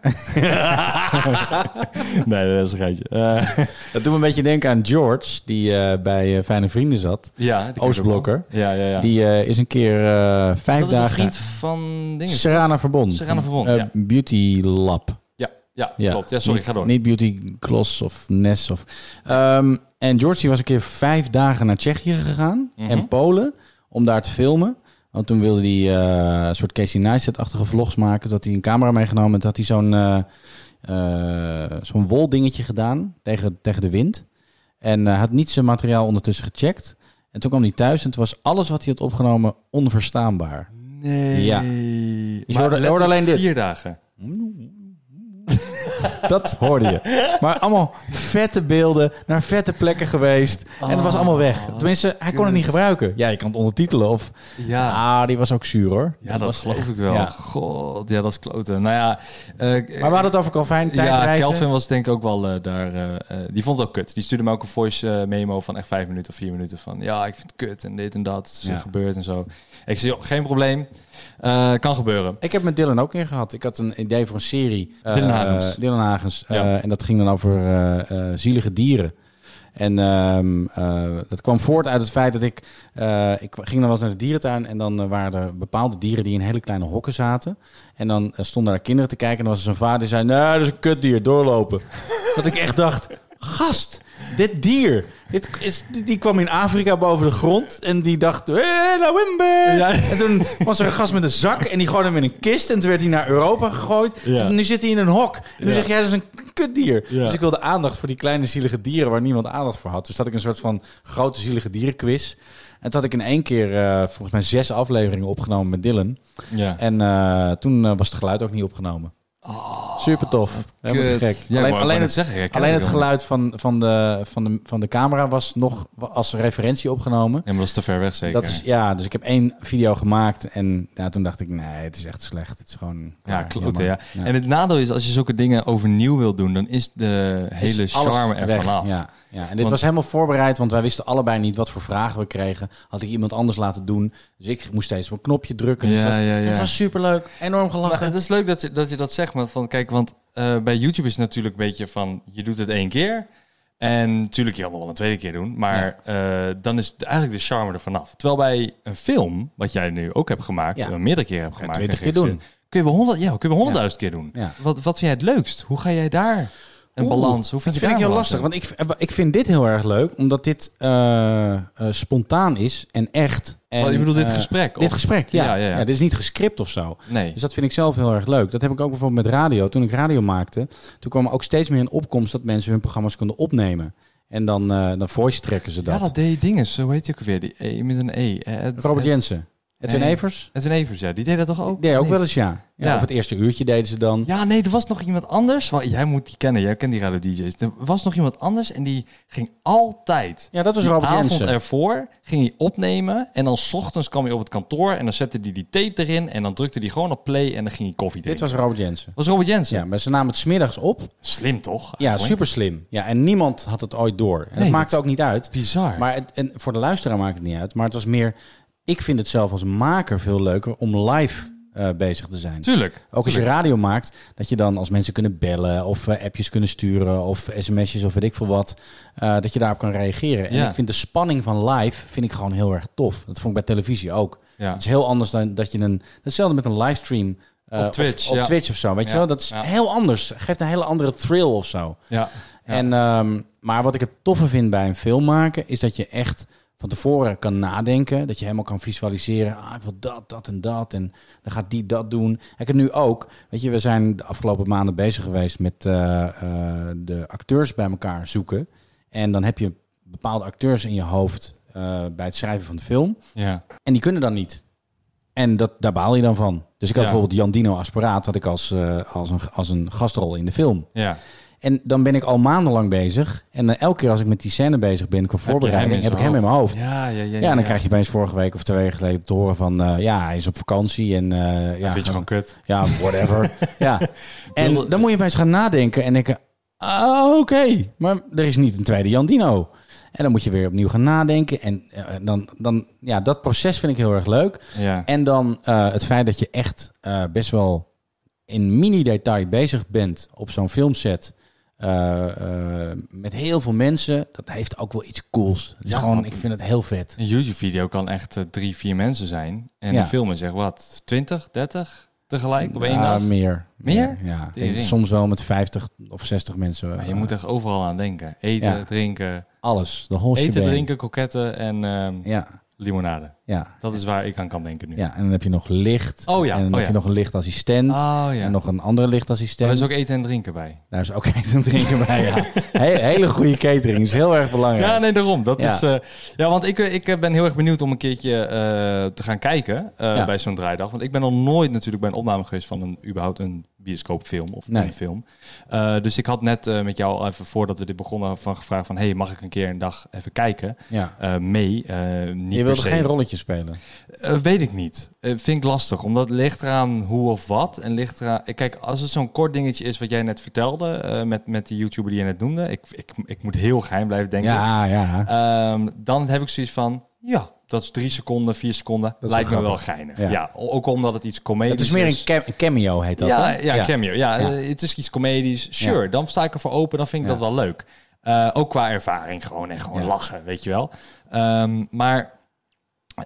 Speaker 1: nee, dat is een geitje. Eh,
Speaker 2: Dat doet me een beetje denken aan George, die eh, bij eh, Fijne Vrienden zat.
Speaker 1: ja, die ken ik
Speaker 2: Oostblokker.
Speaker 1: ook wel. Ja, ja, ja.
Speaker 2: Die eh, is een keer eh, vijf
Speaker 1: dat is een
Speaker 2: dagen...
Speaker 1: vriend van dingen.
Speaker 2: Serana Verbond.
Speaker 1: Serrana Verbond,
Speaker 2: Eh,
Speaker 1: ja.
Speaker 2: Beauty Lab.
Speaker 1: Ja, ja,
Speaker 2: Ja,
Speaker 1: klopt. Ja, sorry,
Speaker 2: niet,
Speaker 1: ga door.
Speaker 2: Niet Beauty Gloss of Ness. Of, Ehm, en George die was een keer vijf dagen naar Tsjechië gegaan
Speaker 1: Mhm.
Speaker 2: en Polen om daar te filmen. Want toen wilde hij eh, een soort Casey Neistat-achtige vlogs maken. Dat hij een camera meegenomen en dat had hij zo'n eh eh, zo'n woldingetje gedaan tegen, tegen de wind. En eh, had niet zijn materiaal ondertussen gecheckt. En toen kwam hij thuis en toen was alles wat hij had opgenomen onverstaanbaar.
Speaker 1: Nee.
Speaker 2: Ja. hoorde- hoorde
Speaker 1: letterlijk
Speaker 2: alleen dit.
Speaker 1: Vier dagen.
Speaker 2: Dat hoorde je. Maar allemaal vette beelden, naar vette plekken geweest. en het was allemaal weg.
Speaker 1: Oh,
Speaker 2: Tenminste, hij kon het niet gebruiken. Ja, je kan het ondertitelen of...
Speaker 1: Ja.
Speaker 2: Ah, die was ook zuur hoor.
Speaker 1: Ja, dat,
Speaker 2: was
Speaker 1: geloof
Speaker 2: echt-
Speaker 1: ik wel.
Speaker 2: ja.
Speaker 1: God, ja, dat is kloten. Nou ja, eh,
Speaker 2: Maar we hadden het over Calvin,
Speaker 1: ja,
Speaker 2: tijdreizen.
Speaker 1: Kelvin was denk ik ook wel eh, daar. eh, eh, die vond het ook kut. Die stuurde me ook een voice eh, memo van echt vijf minuten of vier minuten van ja, ik vind het kut en dit en dat is
Speaker 2: Ja.
Speaker 1: gebeurd en zo. Ik zei, joh, geen probleem, Eh, kan gebeuren.
Speaker 2: Ik heb met Dylan ook in gehad. Ik had een idee voor een serie. eh,
Speaker 1: Dylan Hagens.
Speaker 2: Dylan Hagens.
Speaker 1: Ja.
Speaker 2: Eh, en dat ging dan over eh, eh, zielige dieren. En ehm, eh, dat kwam voort uit het feit dat ik... eh, ik ging dan wel eens naar de dierentuin en dan eh, waren er bepaalde dieren die in hele kleine hokken zaten. En dan eh, stonden daar kinderen te kijken en dan was er zo'n vader die zei... Nee, dat is een kutdier, doorlopen. dat ik echt dacht, gast, dit dier... Dit is, die- die kwam in Afrika boven de grond en die dacht... "Eh, nou, Wimbe."
Speaker 1: Ja.
Speaker 2: En toen was er een gast met een zak en die gooide hem in een kist. En toen werd hij naar Europa gegooid.
Speaker 1: Ja.
Speaker 2: En nu zit hij in een hok. En nu
Speaker 1: Ja.
Speaker 2: zeg jij, dat is een kutdier.
Speaker 1: Ja.
Speaker 2: Dus ik wilde aandacht voor die kleine zielige dieren waar niemand aandacht voor had. Dus dat ik een soort van grote zielige dierenquiz. En toen had ik in één keer eh, volgens mij zes afleveringen opgenomen met Dylan.
Speaker 1: Ja.
Speaker 2: En eh, toen eh, was het geluid ook niet opgenomen. Super tof. Helemaal te
Speaker 1: Ah, kut.
Speaker 2: gek.
Speaker 1: Ja, ik wou- ik
Speaker 2: alleen
Speaker 1: wou
Speaker 2: alleen
Speaker 1: net
Speaker 2: het,
Speaker 1: zeggen, ik herken
Speaker 2: alleen
Speaker 1: het
Speaker 2: het geluid van, van, de, van, de, van de camera was nog als referentie opgenomen.
Speaker 1: En was te ver weg zeker.
Speaker 2: Dat is, ja, dus ik heb één video gemaakt en ja, toen dacht ik, nee, het is echt slecht. Het is gewoon...
Speaker 1: ja, kloten,
Speaker 2: jammer.
Speaker 1: ja. En het nadeel is, als je zulke dingen overnieuw wilt doen, dan is de
Speaker 2: Is
Speaker 1: hele
Speaker 2: alles
Speaker 1: charme er
Speaker 2: weg,
Speaker 1: vanaf.
Speaker 2: Ja, ja. En dit
Speaker 1: Want-
Speaker 2: was helemaal voorbereid, want wij wisten allebei niet wat voor vragen we kregen. Had ik iemand anders laten doen, dus ik moest steeds op een knopje drukken. dus
Speaker 1: Ja,
Speaker 2: dat-
Speaker 1: ja, ja.
Speaker 2: Het was superleuk, enorm
Speaker 1: Maar
Speaker 2: gelachen.
Speaker 1: het is leuk dat je dat, je dat zegt, maar van kijk, want eh, bij YouTube is het natuurlijk een beetje van je doet het één keer. En natuurlijk, je kan het wel een tweede keer doen, maar eh, dan is de- eigenlijk de charme er vanaf. Terwijl bij een film, wat jij nu ook hebt gemaakt,
Speaker 2: Ja.
Speaker 1: en meerdere keren hebt gemaakt,
Speaker 2: 20
Speaker 1: en
Speaker 2: keer doen.
Speaker 1: geregisseerd, Kun je wel honderd, ja, kun je wel honderdduizend keer doen.
Speaker 2: Ja.
Speaker 1: Wat, wat vind jij het leukst? Hoe ga jij daar een
Speaker 2: Oeh,
Speaker 1: balans? Hoe vind je
Speaker 2: dat vind ik
Speaker 1: daar
Speaker 2: heel
Speaker 1: een
Speaker 2: lastig,
Speaker 1: balans
Speaker 2: want ik, ik vind dit heel erg leuk, omdat dit eh, eh, spontaan is en echt. En,
Speaker 1: Wel, Oh, je bedoelt dit
Speaker 2: eh,
Speaker 1: gesprek, of-
Speaker 2: Dit gesprek, ja.
Speaker 1: Ja,
Speaker 2: Ja,
Speaker 1: ja, ja.
Speaker 2: Dit is niet gescript of zo.
Speaker 1: in? Nee.
Speaker 2: Dus dat vind ik zelf heel erg leuk. Dat heb ik ook bijvoorbeeld met radio. Toen ik radio maakte, toen kwam er ook steeds meer een opkomst dat mensen hun programma's konden opnemen. En dan, eh, dan voice trekken ze dat.
Speaker 1: Ja, dat deed dingen. Zo heet hij ook weer. Die E met een E. Eh, Ed-
Speaker 2: Robert
Speaker 1: Ed-
Speaker 2: Jensen. Edwin
Speaker 1: Nee.
Speaker 2: Evers?
Speaker 1: Edwin Evers, ja. Die deed dat toch ook?
Speaker 2: Nee, ook
Speaker 1: Nee.
Speaker 2: wel eens ja. ja,
Speaker 1: Ja.
Speaker 2: Of het eerste uurtje deden ze dan.
Speaker 1: Ja, nee, er was nog iemand anders. Wel, Jij moet die kennen, jij kent die radio DJ's. Er was nog iemand anders en die ging altijd.
Speaker 2: Ja, dat was
Speaker 1: die
Speaker 2: Robert
Speaker 1: avond
Speaker 2: Jensen.
Speaker 1: ervoor ging hij opnemen en dan 's ochtends kwam hij op het kantoor en dan zette hij die tape erin en dan drukte hij gewoon op play en dan ging hij koffie
Speaker 2: Dit
Speaker 1: drinken.
Speaker 2: was Robert Jensen.
Speaker 1: was Robert Jensen.
Speaker 2: Ja, maar ze namen het smiddags op.
Speaker 1: Slim toch?
Speaker 2: Ja,
Speaker 1: eigenlijk?
Speaker 2: super slim. Ja, en niemand had het ooit door. En
Speaker 1: Nee,
Speaker 2: dat maakte
Speaker 1: dat-
Speaker 2: ook niet uit.
Speaker 1: Bizar.
Speaker 2: Maar het, en voor de luisteraar maakt het niet uit. Maar het was meer... Ik vind het zelf als maker veel leuker om live eh, bezig te zijn.
Speaker 1: Tuurlijk.
Speaker 2: Ook als je radio maakt, dat je dan als mensen kunnen bellen of eh, appjes kunnen sturen of sms'jes of weet ik veel wat, eh, dat je daarop kan reageren. En
Speaker 1: Ja.
Speaker 2: ik vind de spanning van live vind ik gewoon heel erg tof. Dat vond ik bij televisie ook.
Speaker 1: Ja.
Speaker 2: Het is heel anders dan dat je een. Hetzelfde met een livestream. eh,
Speaker 1: Op
Speaker 2: of-
Speaker 1: Twitch,
Speaker 2: Op,
Speaker 1: ja.
Speaker 2: Twitch of zo. Weet
Speaker 1: Ja,
Speaker 2: je wel, dat is
Speaker 1: ja.
Speaker 2: heel anders. Geeft een hele andere thrill of zo.
Speaker 1: Ja.
Speaker 2: En, ehm, maar wat ik het toffe vind bij een film maken, is dat je echt van tevoren kan nadenken. Dat je helemaal kan visualiseren. Ah, ik wil dat, dat en dat. En dan gaat die dat doen. Ik heb nu ook, weet je, we zijn de afgelopen maanden bezig geweest met eh, eh, de acteurs bij elkaar zoeken. En dan heb je bepaalde acteurs in je hoofd eh, bij het schrijven van de film.
Speaker 1: Ja.
Speaker 2: En die kunnen dan niet. En dat, daar baal je dan van. Dus ik had
Speaker 1: Ja.
Speaker 2: bijvoorbeeld Jan Dino Asperaat had ik als, eh, als, een, als een gastrol in de film.
Speaker 1: Ja.
Speaker 2: En dan ben ik al maandenlang bezig. En eh, elke keer als ik met die scène bezig ben qua voorbereiding, heb ik hem in mijn hoofd. Ja,
Speaker 1: Ja, ja, ja. Ja,
Speaker 2: en dan
Speaker 1: ja.
Speaker 2: krijg je opeens vorige week of twee weken geleden te horen van... eh, ja, hij is op vakantie en... eh, ja,
Speaker 1: Vind je gewoon kut.
Speaker 2: Ja,
Speaker 1: [laughs]
Speaker 2: whatever. ja.
Speaker 1: Wilde-
Speaker 2: En dan moet je opeens gaan nadenken en denken... Ah, oké, maar er is niet een tweede Jan Dino. En dan moet je weer opnieuw gaan nadenken. En eh, dan, dan, ja, dat proces vind ik heel erg leuk.
Speaker 1: Ja.
Speaker 2: En dan eh, het feit dat je echt eh, best wel in mini-detail bezig bent op zo'n filmset. eh, eh, met heel veel mensen. Dat heeft ook wel iets cools. Het is
Speaker 1: Ja,
Speaker 2: gewoon,
Speaker 1: want-
Speaker 2: ik vind het heel vet.
Speaker 1: Een YouTube-video kan echt eh, drie, vier mensen zijn. En
Speaker 2: Ja.
Speaker 1: een film is echt wat, 20, 30 tegelijk op één
Speaker 2: Ja,
Speaker 1: dag.
Speaker 2: meer.
Speaker 1: Meer?
Speaker 2: Ja.
Speaker 1: Tering.
Speaker 2: Soms wel met 50 of 60 mensen.
Speaker 1: Maar je
Speaker 2: Eh,
Speaker 1: moet echt overal aan denken. Eten,
Speaker 2: Ja.
Speaker 1: drinken.
Speaker 2: alles. De whole
Speaker 1: Eten,
Speaker 2: shebang.
Speaker 1: drinken, koketten en... ehm,
Speaker 2: Ja.
Speaker 1: limonade.
Speaker 2: Ja.
Speaker 1: Dat is waar ik aan kan denken nu.
Speaker 2: ja, en dan heb je nog licht.
Speaker 1: Oh ja,
Speaker 2: En dan
Speaker 1: oh
Speaker 2: heb
Speaker 1: ja.
Speaker 2: je nog een lichtassistent.
Speaker 1: Oh ja.
Speaker 2: En nog een andere
Speaker 1: Maar
Speaker 2: lichtassistent.
Speaker 1: er is ook e- eten en drinken bij.
Speaker 2: Daar is ook [laughs] eten en drinken bij. Ja. He- hele goede catering. Is heel erg belangrijk.
Speaker 1: Ja, nee, daarom. Dat
Speaker 2: Ja.
Speaker 1: is, eh, ja, want ik, eh, ik eh, ben heel erg benieuwd om een keertje eh, te gaan kijken eh,
Speaker 2: Ja.
Speaker 1: bij zo'n draaidag. Want ik ben nog nooit natuurlijk bij een opname geweest van een, überhaupt een bioscoopfilm of
Speaker 2: Nee.
Speaker 1: een film. Eh, dus ik had net eh, met jou even voordat we dit begonnen van gevraagd van... hey, mag ik een keer een dag even kijken?
Speaker 2: Ja.
Speaker 1: Eh, mee, eh niet
Speaker 2: Je
Speaker 1: per
Speaker 2: wilde
Speaker 1: se.
Speaker 2: geen rolletje spelen.
Speaker 1: Eh, weet ik niet. Eh, vind ik lastig, omdat ligt eraan hoe of wat. En ligt eraan... eh, Kijk, als het zo'n kort dingetje is wat jij net vertelde... eh, met, met die YouTuber die je net noemde... Ik, ik, ik moet heel geheim blijven denken.
Speaker 2: Ja, ja.
Speaker 1: Ehm, dan heb ik zoiets van, ja, dat is drie seconden, vier seconden.
Speaker 2: wel
Speaker 1: lijkt me wel
Speaker 2: grappig.
Speaker 1: geinig. Ja.
Speaker 2: Ja.
Speaker 1: o- ook omdat het iets comedisch
Speaker 2: Het is meer een cam- cameo, heet dat.
Speaker 1: ja,
Speaker 2: hè?
Speaker 1: ja, cameo. Ja,
Speaker 2: Ja.
Speaker 1: eh, het is iets comedisch. Sure,
Speaker 2: Ja.
Speaker 1: dan sta ik er voor open. Dan vind ik
Speaker 2: Ja.
Speaker 1: dat wel leuk. Eh, ook qua ervaring gewoon en gewoon
Speaker 2: Ja.
Speaker 1: lachen, weet je wel. Ehm, maar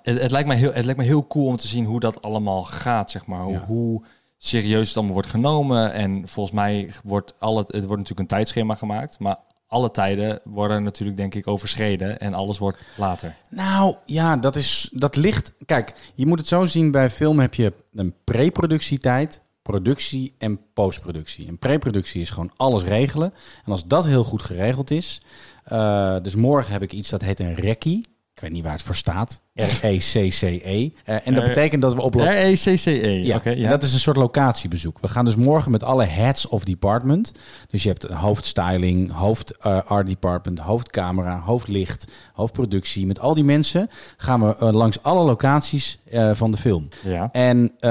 Speaker 1: het, het, lijkt me heel, het lijkt me heel cool om te zien hoe dat allemaal gaat, zeg maar. Hoe,
Speaker 2: Ja.
Speaker 1: hoe serieus het allemaal wordt genomen. En volgens mij wordt al het... Het wordt natuurlijk een tijdschema gemaakt, maar... Alle tijden worden natuurlijk, denk ik, overschreden en alles wordt later.
Speaker 2: Nou ja, dat, is, dat ligt. Kijk, je moet het zo zien: bij film heb je een pre-productietijd, productie en postproductie. En pre-productie is gewoon alles regelen. En als dat heel goed geregeld is. eh, dus morgen heb ik iets dat heet een recce. Ik weet niet waar het voor staat. E R-E-C-C-E. Eh, en dat
Speaker 1: Eh,
Speaker 2: betekent dat we op, lo-
Speaker 1: E R-E-C-C-E.
Speaker 2: ja,
Speaker 1: Ja,
Speaker 2: en
Speaker 1: ja.
Speaker 2: dat is een soort locatiebezoek. We gaan dus morgen met alle heads of department. Dus je hebt hoofdstyling, hoofd eh, art department, hoofdcamera, hoofdlicht, hoofdproductie. Met al die mensen gaan we eh, langs alle locaties eh, van de film.
Speaker 1: Ja.
Speaker 2: En, ehm,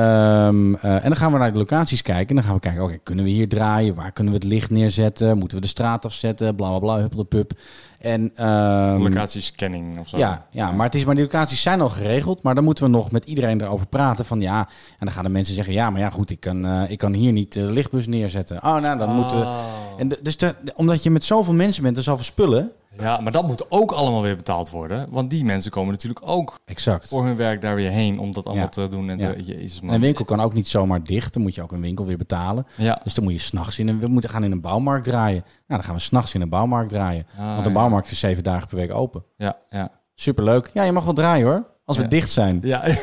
Speaker 2: eh, en dan gaan we naar de locaties kijken. En dan gaan we kijken, oké, kunnen we hier draaien? Waar kunnen we het licht neerzetten? Moeten we de straat afzetten? Bla, bla, bla, huppel de pub. En, ehm,
Speaker 1: Locatiescanning of zo.
Speaker 2: ja, ja, maar het is maar die locaties zijn al geregeld, maar dan moeten we nog met iedereen erover praten van ja, en dan gaan de mensen zeggen ja, maar ja goed, ik kan, eh, ik kan hier niet eh, de lichtbus neerzetten. Oh, nou dan moeten we. En de- dus de- de- omdat je met zoveel mensen bent, en zoveel spullen.
Speaker 1: Ja, maar dat moet ook allemaal weer betaald worden. Want die mensen komen natuurlijk ook
Speaker 2: Exact.
Speaker 1: voor hun werk daar weer heen om dat allemaal
Speaker 2: Ja.
Speaker 1: te doen. En
Speaker 2: Ja.
Speaker 1: te, jezus
Speaker 2: En
Speaker 1: man.
Speaker 2: een winkel kan ook niet zomaar dicht, dan moet je ook een winkel weer betalen.
Speaker 1: Ja.
Speaker 2: Dus dan moet je s'nachts in een, we moeten gaan in een bouwmarkt draaien. Nou, dan gaan we s'nachts in een bouwmarkt draaien,
Speaker 1: Ah,
Speaker 2: want de
Speaker 1: ja.
Speaker 2: bouwmarkt is zeven dagen per week open.
Speaker 1: ja, ja.
Speaker 2: Superleuk. Ja, je mag wel draaien hoor, als we
Speaker 1: Ja.
Speaker 2: dicht
Speaker 1: [laughs]
Speaker 2: zijn.
Speaker 1: Ja,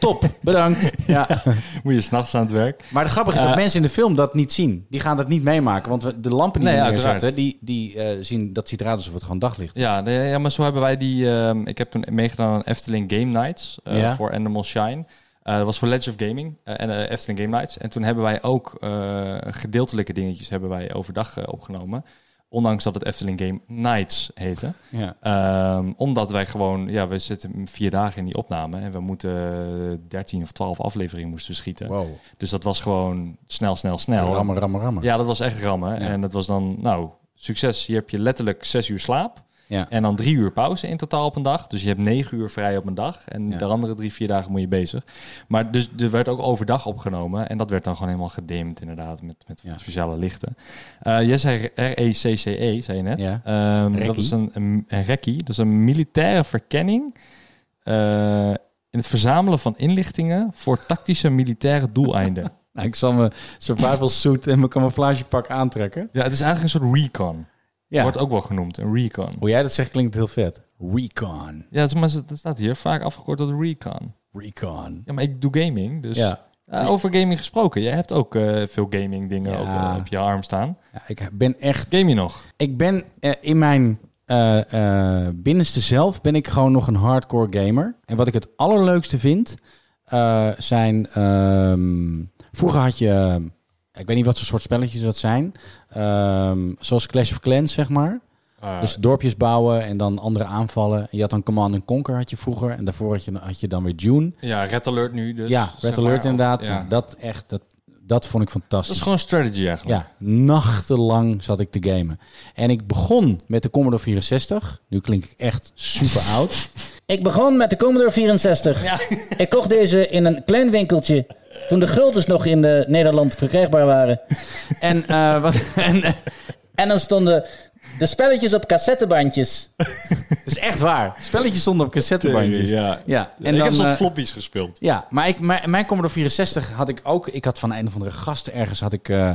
Speaker 2: Top, bedankt. Ja.
Speaker 1: moet je s'nachts aan het werk.
Speaker 2: Maar het grappige is dat mensen in de film dat niet zien. Die gaan dat niet meemaken. Want we- de lampen die
Speaker 1: Nee,
Speaker 2: we
Speaker 1: uiteraard.
Speaker 2: neerzetten, die, die eh, zien, dat ziet eruit alsof het gewoon daglicht is.
Speaker 1: Ja, nee, ja, maar zo hebben wij die... ehm, ik heb toen meegedaan aan Efteling Game Nights eh,
Speaker 2: Ja.
Speaker 1: voor Animal Shine. Eh, dat was voor Legends of Gaming eh, en eh, Efteling Game Nights. En toen hebben wij ook eh, gedeeltelijke dingetjes hebben wij overdag eh, opgenomen. Ondanks dat het Efteling Game Nights heette.
Speaker 2: Ja.
Speaker 1: Ehm, omdat wij gewoon, ja, we zitten vier dagen in die opname en we moeten 13 of 12 afleveringen moesten schieten.
Speaker 2: Wow.
Speaker 1: Dus dat was gewoon snel, snel, snel.
Speaker 2: Rammen, rammen, rammen.
Speaker 1: Ja, dat was echt rammen. En dat was dan, nou, succes. Hier heb je letterlijk zes uur slaap
Speaker 2: Ja.
Speaker 1: en dan drie uur pauze in totaal op een dag. Dus je hebt negen uur vrij op een dag en
Speaker 2: Ja.
Speaker 1: de andere drie, vier dagen moet je bezig. Maar dus er werd ook overdag opgenomen en dat werd dan gewoon helemaal gedimd inderdaad met, met
Speaker 2: Ja.
Speaker 1: speciale lichten. Eh jij zei RECCE, E, zei je net.
Speaker 2: Ja.
Speaker 1: Ehm, dat
Speaker 2: Rekkie.
Speaker 1: is een, een, een rekkie, dat is een militaire verkenning eh, in het verzamelen van inlichtingen voor tactische militaire
Speaker 2: [laughs]
Speaker 1: doeleinden.
Speaker 2: Nou, ik zal mijn survival suit en mijn camouflagepak aantrekken.
Speaker 1: ja, het is eigenlijk een soort recon.
Speaker 2: Ja.
Speaker 1: Wordt ook wel genoemd, een recon.
Speaker 2: Hoe jij dat zegt klinkt heel vet. Recon.
Speaker 1: Ja, maar dat staat hier vaak afgekort tot recon.
Speaker 2: Recon.
Speaker 1: Ja, maar ik doe gaming, dus...
Speaker 2: Ja.
Speaker 1: Eh, over gaming gesproken. Jij hebt ook eh, veel gaming dingen
Speaker 2: Ja.
Speaker 1: op, eh, op je arm staan.
Speaker 2: Ja, ik ben echt...
Speaker 1: Game je nog?
Speaker 2: Ik ben eh, in mijn eh, eh, binnenste zelf ben ik gewoon nog een hardcore gamer. En wat ik het allerleukste vind, eh, zijn... ehm, vroeger had je... eh, ik weet niet wat voor soort spelletjes dat zijn. Ehm, zoals Clash of Clans, zeg maar.
Speaker 1: Ah.
Speaker 2: dus dorpjes bouwen en dan andere aanvallen. Je had dan Command and Conquer had je vroeger. En daarvoor had je, had je dan weer Dune.
Speaker 1: ja, Red Alert nu dus.
Speaker 2: ja,
Speaker 1: zeg
Speaker 2: Red Alert
Speaker 1: maar.
Speaker 2: inderdaad.
Speaker 1: Ja.
Speaker 2: Nou, dat echt... Dat, dat vond ik fantastisch.
Speaker 1: Dat is gewoon strategy eigenlijk.
Speaker 2: Ja, nachtenlang zat ik te gamen. En ik begon met de Commodore 64. Nu klink ik echt super oud.
Speaker 5: [laughs] Ik begon met de Commodore 64. Ik kocht deze in een klein winkeltje. Toen de guldens nog in eh, Nederland verkrijgbaar waren.
Speaker 2: En, eh, wat, [laughs] en eh,
Speaker 5: En dan stonden de spelletjes op cassettebandjes.
Speaker 2: [laughs] dat is echt waar. Spelletjes stonden op cassettebandjes.
Speaker 1: Ja.
Speaker 2: ja. En
Speaker 1: ik
Speaker 2: dan,
Speaker 1: heb zo'n
Speaker 2: eh,
Speaker 1: floppies gespeeld.
Speaker 2: Ja, maar ik, mijn, mijn Commodore 64 had ik ook. Ik had van een of andere gasten ergens had ik. eh,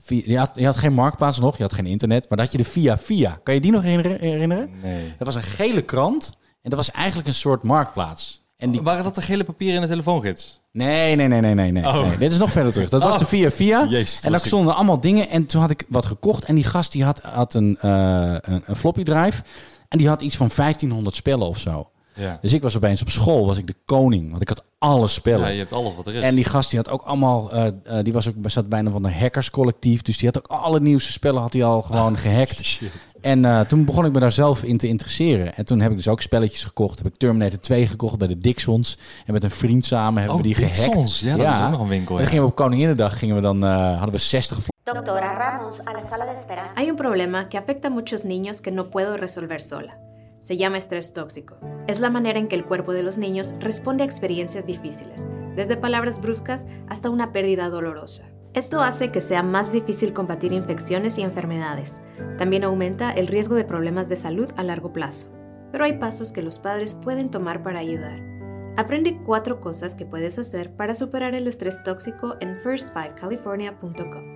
Speaker 2: via, je, had, je had geen marktplaats nog, je had geen internet, maar dat had je de via via. Kan je die nog herinner- herinneren?
Speaker 1: Nee.
Speaker 2: Dat was een gele krant. En dat was eigenlijk een soort marktplaats. En die...
Speaker 1: Waren dat de gele papieren in de telefoongids?
Speaker 2: Nee, nee, nee, nee, nee. nee.
Speaker 1: Oh.
Speaker 2: nee. Dit is nog verder terug. Dat was
Speaker 1: Oh.
Speaker 2: de Via Via.
Speaker 1: Jezus, dat was
Speaker 2: en daar
Speaker 1: ik.
Speaker 2: stonden allemaal dingen. En toen had ik wat gekocht. En die gast die had, had een, eh, een, een floppy drive. En die had iets van 1500 spellen of zo.
Speaker 1: Ja.
Speaker 2: Dus ik was opeens op school, was ik de koning. Want ik had alle spellen.
Speaker 1: ja, je hebt alles wat er is.
Speaker 2: En die gast die had ook allemaal, eh, eh, die was ook, zat bijna van een hackerscollectief. Dus die had ook alle nieuwste spellen had hij al
Speaker 1: Ah,
Speaker 2: gewoon
Speaker 1: [laughs]
Speaker 2: gehackt. En eh, toen begon ik me daar zelf in te interesseren. En toen heb ik dus ook spelletjes gekocht. Heb ik Terminator 2 gekocht bij de Dixons. En met een vriend samen hebben
Speaker 1: Oh,
Speaker 2: we die
Speaker 1: Dixons.
Speaker 2: gehackt.
Speaker 1: Ja, dat is ook nog een winkel,
Speaker 2: En dan
Speaker 1: ja.
Speaker 2: gingen we op Koninginnedag gingen we dan, eh, hadden we 60
Speaker 6: Doctora Ramos a la sala de espera.
Speaker 7: Hay un problema que afecta a muchos niños que no puedo resolver sola. Se llama estrés tóxico. Es la manera en que el cuerpo de los niños responde a experiencias difíciles, desde palabras bruscas hasta una pérdida dolorosa. Esto hace que sea más difícil combatir infecciones y enfermedades. También aumenta el riesgo de problemas de salud a largo plazo. Pero hay pasos que los padres pueden tomar para ayudar. Aprende cuatro cosas que puedes hacer para superar el estrés tóxico en first5california.com.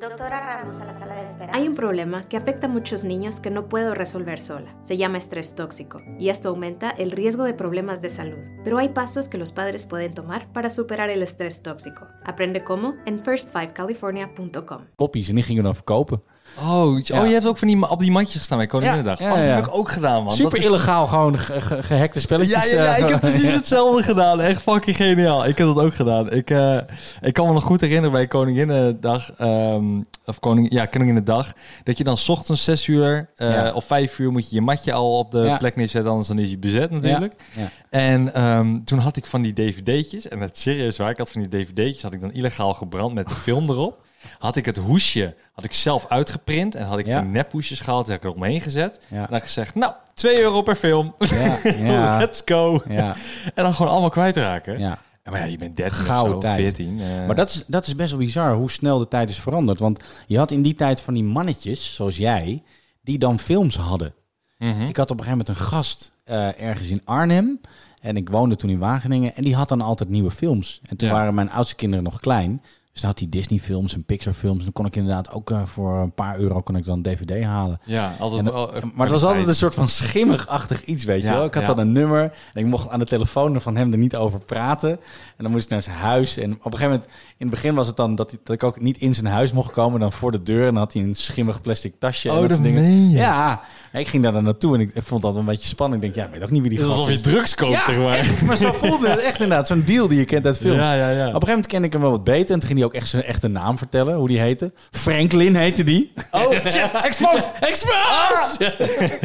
Speaker 6: Doctora Ramos a la sala de espera.
Speaker 7: Hay un problema que afecta a muchos niños que no puedo resolver sola. Se llama estrés tóxico y esto aumenta el riesgo de problemas de salud. Pero hay pasos que los padres pueden tomar para superar el estrés tóxico. Aprende cómo en first5california.com.
Speaker 2: floppies en die gingen we dan verkopen.
Speaker 1: Oh, je-
Speaker 2: Ja.
Speaker 1: oh, je hebt ook van die, ma- op die mandjes gestaan bij Koninginnedag.
Speaker 2: Ja, ja,
Speaker 1: Oh, dat
Speaker 2: ja.
Speaker 1: heb ik ook gedaan, man.
Speaker 2: Super
Speaker 1: Dat is-
Speaker 2: illegaal gewoon ge- ge- gehackte
Speaker 1: Ja,
Speaker 2: spelletjes.
Speaker 1: ja, ja,
Speaker 2: eh,
Speaker 1: ik heb
Speaker 2: [laughs]
Speaker 1: precies hetzelfde gedaan. Echt fucking geniaal. Ik heb dat ook gedaan. Ik, eh, ik kan me nog goed herinneren bij Koninginnedag, ehm, of koning, ja, Koninginnedag, dat je dan 's ochtends 6 uur eh,
Speaker 2: Ja.
Speaker 1: of 5 uur moet je je matje al op de
Speaker 2: Ja.
Speaker 1: plek neerzetten, anders dan is je bezet natuurlijk.
Speaker 2: Ja, ja.
Speaker 1: En ehm, toen had ik van die dvd'tjes, en het serieus waar, ik had van die dvd'tjes, had ik dan illegaal gebrand
Speaker 2: [laughs]
Speaker 1: met de film erop. Had ik het hoesje, had ik zelf uitgeprint en had ik
Speaker 2: Ja.
Speaker 1: van nephoesjes gehaald, die had ik er omheen gezet.
Speaker 2: Ja.
Speaker 1: En dan gezegd, nou, 2 euro per film. [laughs]
Speaker 2: ja, ja,
Speaker 1: Let's go.
Speaker 2: ja,
Speaker 1: En dan gewoon allemaal kwijtraken.
Speaker 2: ja.
Speaker 1: En Maar ja, je bent 13
Speaker 2: Gouden
Speaker 1: of zo,
Speaker 2: tijd.
Speaker 1: 14. eh.
Speaker 2: Maar dat is, dat is best wel bizar hoe snel de tijd is veranderd. Want je had in die tijd van die mannetjes, zoals jij, die dan films hadden.
Speaker 1: Mhm.
Speaker 2: Ik had op een gegeven moment een gast eh, ergens in Arnhem. En ik woonde toen in Wageningen. En die had dan altijd nieuwe films. En toen
Speaker 1: Ja.
Speaker 2: waren mijn oudste kinderen nog klein. Dus dan had hij Disney-films en Pixar-films. En dan kon ik inderdaad ook eh, voor een paar euro kon ik dan een DVD halen.
Speaker 1: Ja, altijd.
Speaker 2: En dan-
Speaker 1: oh, eh,
Speaker 2: maar het was
Speaker 1: kwaliteit.
Speaker 2: altijd een soort van schimmigachtig iets, weet je
Speaker 1: Ja,
Speaker 2: wel. Ik had
Speaker 1: ja.
Speaker 2: dan een nummer en ik mocht aan de telefoon van hem er niet over praten. En dan moest ik naar zijn huis. En op een gegeven moment, in het begin was het dan dat, hij- dat ik ook niet in zijn huis mocht komen. Dan voor de deur en dan had hij een schimmig plastic tasje. en
Speaker 1: Oh,
Speaker 2: soort
Speaker 1: dat meen je.
Speaker 2: Ja, ik ging daar dan naartoe en ik, ik vond dat een beetje spannend. Ik denk, ja, ik weet ook niet wie die
Speaker 1: Het is
Speaker 2: gast
Speaker 1: alsof je
Speaker 2: is.
Speaker 1: drugs koopt,
Speaker 2: Ja,
Speaker 1: zeg maar. [laughs]
Speaker 2: echt, maar zo voelde het echt inderdaad. Zo'n deal die je kent uit films.
Speaker 1: Ja, ja, ja.
Speaker 2: Op een gegeven moment ken ik hem wel wat beter. En toen ging hij ook echt zijn echte naam vertellen, hoe die heette. Franklin heette die.
Speaker 1: Oh, shit. Exposed. [laughs] Exposed.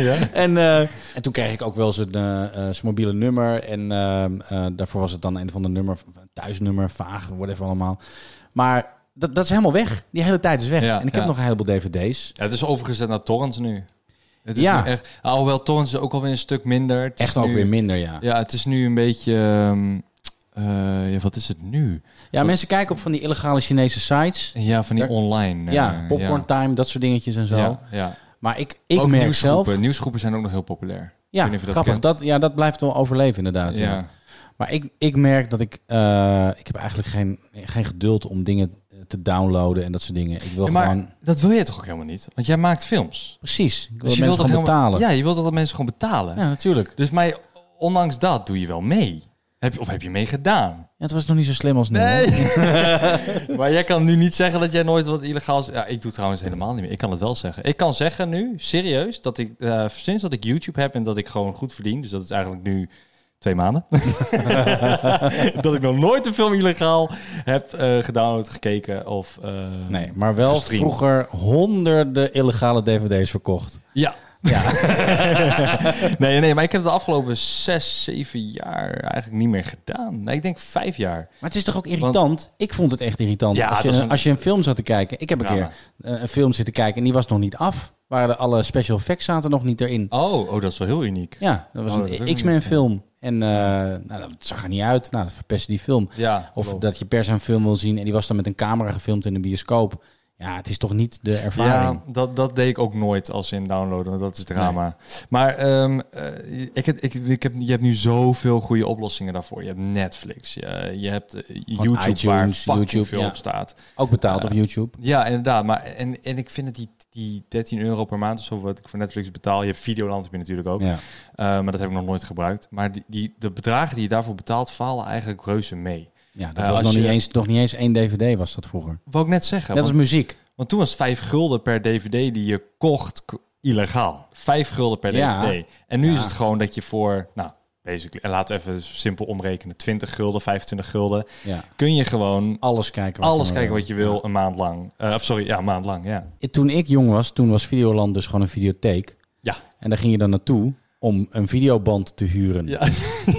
Speaker 2: Ah. En, eh, en toen kreeg ik ook wel zijn, eh, eh, zijn mobiele nummer. En ehm, eh, daarvoor was het dan een van de nummer, thuisnummer, vaag, whatever allemaal. Maar dat, dat is helemaal weg. Die hele tijd is weg.
Speaker 1: Ja,
Speaker 2: en ik
Speaker 1: ja.
Speaker 2: heb nog een heleboel dvd's.
Speaker 1: Ja, het is overgezet naar torrents nu. Het is
Speaker 2: Ja.
Speaker 1: nu echt, alhoewel torrents is ook alweer een stuk minder. Het is
Speaker 2: Echt ook
Speaker 1: nu-
Speaker 2: weer minder, ja. Ja,
Speaker 1: Ja, het is nu een beetje... ehm, eh, ja, wat is het nu?
Speaker 2: mensen kijken op van die illegale Chinese sites.
Speaker 1: Ja, van die
Speaker 2: Daar-
Speaker 1: online. eh,
Speaker 2: ja, popcorn time, dat soort dingetjes en zo.
Speaker 1: Ja, ja. ja.
Speaker 2: Maar ik, ik
Speaker 1: ook
Speaker 2: merk
Speaker 1: nieuwsgroepen.
Speaker 2: zelf...
Speaker 1: Nieuwsgroepen zijn ook nog heel populair.
Speaker 2: Ja,
Speaker 1: Ik weet niet of je dat
Speaker 2: grappig.
Speaker 1: kent.
Speaker 2: Dat, ja, dat blijft wel overleven inderdaad. ja.
Speaker 1: ja.
Speaker 2: Maar ik, ik merk dat ik... eh, ik heb eigenlijk geen, geen geduld om dingen te downloaden en dat soort dingen. Ik wil
Speaker 1: Ja, maar
Speaker 2: gewoon...
Speaker 1: dat wil jij toch ook helemaal niet? Want jij maakt films.
Speaker 2: Precies. Ik
Speaker 1: Dus
Speaker 2: wil
Speaker 1: je
Speaker 2: mensen
Speaker 1: wilt toch
Speaker 2: gewoon
Speaker 1: helemaal-
Speaker 2: betalen.
Speaker 1: Ja, je wilt toch dat mensen gewoon betalen.
Speaker 2: Ja, natuurlijk.
Speaker 1: Dus maar ondanks dat doe je wel mee. Heb je, of heb je mee gedaan?
Speaker 2: Ja, het was nog niet zo slim als nu. hè?
Speaker 1: [laughs] maar jij kan nu niet zeggen dat jij nooit wat illegaals... Ja, ik doe het trouwens helemaal niet meer. Ik kan het wel zeggen. Ik kan zeggen nu, serieus, dat ik eh, sinds dat ik YouTube heb en dat ik gewoon goed verdien... dus dat is eigenlijk nu twee maanden... [laughs] dat ik nog nooit een film illegaal heb eh, gedownload, gekeken of... eh,
Speaker 2: Nee, maar wel
Speaker 1: Gestreamd.
Speaker 2: vroeger honderden illegale dvd's verkocht.
Speaker 1: Ja.
Speaker 2: [laughs]
Speaker 1: nee, nee, maar ik heb het de afgelopen zes, zeven jaar eigenlijk niet meer gedaan. Nee, ik denk vijf jaar.
Speaker 2: Maar het is toch ook irritant? ik vond het echt irritant.
Speaker 1: Ja,
Speaker 2: als, je,
Speaker 1: het was een-
Speaker 2: als je een film zat te kijken. Ik heb een
Speaker 1: Drama.
Speaker 2: keer eh, een film zitten kijken en die was nog niet af. Waren de, alle special effects zaten nog niet erin.
Speaker 1: Oh, oh dat is wel heel uniek.
Speaker 2: Ja, dat was
Speaker 1: Oh, dat heb ik
Speaker 2: een
Speaker 1: niet
Speaker 2: X-Men
Speaker 1: gezien.
Speaker 2: film. En eh, nou, dat zag er niet uit. Nou, dat verpest die film.
Speaker 1: Ja,
Speaker 2: Of
Speaker 1: klopt.
Speaker 2: dat je per se een film wil zien en die was dan met een camera gefilmd in een bioscoop. Ja, het is toch niet de ervaring.
Speaker 1: Ja, dat, dat deed ik ook nooit als in downloaden. want Dat is drama. Maar ehm, eh, ik, heb- ik, ik heb, je hebt nu zoveel goede oplossingen daarvoor. Je hebt Netflix, je, je hebt eh, YouTube waar
Speaker 2: iTunes,
Speaker 1: fucking
Speaker 2: YouTube,
Speaker 1: veel
Speaker 2: ja.
Speaker 1: op staat.
Speaker 2: Ook betaald op YouTube.
Speaker 1: Ja, inderdaad. Maar, en, en ik vind het die, die 13 euro per maand of zo wat ik voor Netflix betaal. Je hebt Videoland heb je natuurlijk ook.
Speaker 2: Ja.
Speaker 1: Eh, maar dat heb ik nog nooit gebruikt. Maar die, die, de bedragen die je daarvoor betaalt falen eigenlijk reuze mee.
Speaker 2: Ja, dat
Speaker 1: Eh,
Speaker 2: was
Speaker 1: als
Speaker 2: nog,
Speaker 1: je-
Speaker 2: niet eens, nog niet eens één DVD was dat vroeger.
Speaker 1: Wou ik net zeggen.
Speaker 2: Net als
Speaker 1: want-
Speaker 2: muziek.
Speaker 1: Want toen was het 5 gulden per DVD die je kocht k- illegaal. 5 gulden per
Speaker 2: Ja.
Speaker 1: DVD. En nu
Speaker 2: Ja.
Speaker 1: is het gewoon dat je voor, nou, basically, en laten we even simpel omrekenen: 20 gulden, 25 gulden.
Speaker 2: Ja.
Speaker 1: Kun je gewoon
Speaker 2: Alles kijken. wat
Speaker 1: alles
Speaker 2: we
Speaker 1: kijken wat
Speaker 2: willen.
Speaker 1: je wil een maand lang. Eh, of sorry, ja, een maand lang, ja.
Speaker 2: Ja. Toen ik jong was, toen was Videoland dus gewoon een videotheek.
Speaker 1: Ja.
Speaker 2: En daar ging je dan naartoe om een videoband te huren.
Speaker 1: Ja.
Speaker 2: [laughs]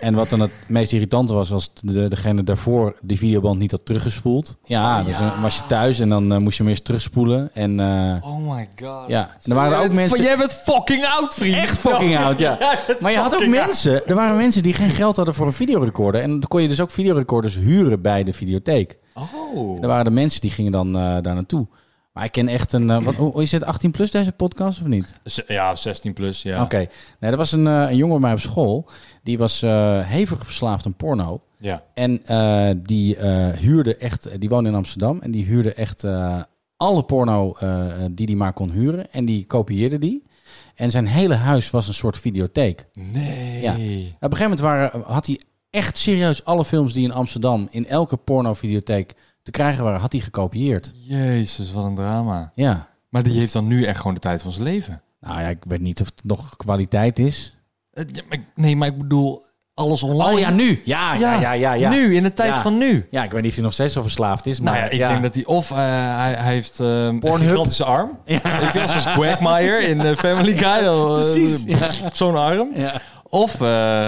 Speaker 2: En wat dan het meest irritante was, was de, degene daarvoor die videoband niet had teruggespoeld. Ja,
Speaker 1: Oh,
Speaker 2: dus dan was je thuis en dan eh, moest je hem eerst terugspoelen. En eh,
Speaker 1: Oh my god.
Speaker 2: ja, en er waren er ook mensen...
Speaker 1: Jij bent fucking oud, vriend.
Speaker 2: Echt fucking oud,
Speaker 1: [laughs]
Speaker 2: ja. Maar je had ook mensen, er waren mensen die geen geld hadden voor een videorecorder. En dan kon je dus ook videorecorders huren bij de videotheek.
Speaker 1: Oh.
Speaker 2: Er waren de mensen die gingen dan eh, daar naartoe. Maar ik ken echt een... eh, wat, oh, is het 18 plus deze podcast of niet?
Speaker 1: Z- Ja, 16 plus, ja.
Speaker 2: Oké. Nee, er was een, eh, een jongen bij mij op school. Die was eh, hevig verslaafd aan porno.
Speaker 1: Ja.
Speaker 2: En eh, die eh, huurde echt... Die woonde in Amsterdam. En die huurde echt eh, alle porno eh, die hij maar kon huren. En die kopieerde die. En zijn hele huis was een soort videotheek.
Speaker 1: Nee.
Speaker 2: Ja. Op een gegeven moment waren, had hij echt serieus alle films die in Amsterdam... in elke porno-videotheek te krijgen waren, had hij gekopieerd.
Speaker 1: Jezus, wat een drama.
Speaker 2: Ja.
Speaker 1: Maar die heeft dan nu echt gewoon de tijd van zijn leven.
Speaker 2: Nou ja, ik weet niet of het nog kwaliteit is.
Speaker 1: Eh, ja, maar ik- nee, maar ik bedoel alles online.
Speaker 2: Oh ja, nu. Ja, ja, ja, ja. ja.
Speaker 1: Nu, in de tijd
Speaker 2: Ja.
Speaker 1: van nu.
Speaker 2: Ja, ik weet niet of hij nog steeds zo verslaafd is, maar
Speaker 1: Nou ja, ik denk dat hij of eh, hij, hij heeft ehm, een
Speaker 2: Pornhub.
Speaker 1: gigantische arm.
Speaker 2: [laughs]
Speaker 1: Ik was als Quagmire in eh, Family Guy. dan, eh,
Speaker 2: Precies,
Speaker 1: Zo'n arm.
Speaker 2: Ja.
Speaker 1: Of eh,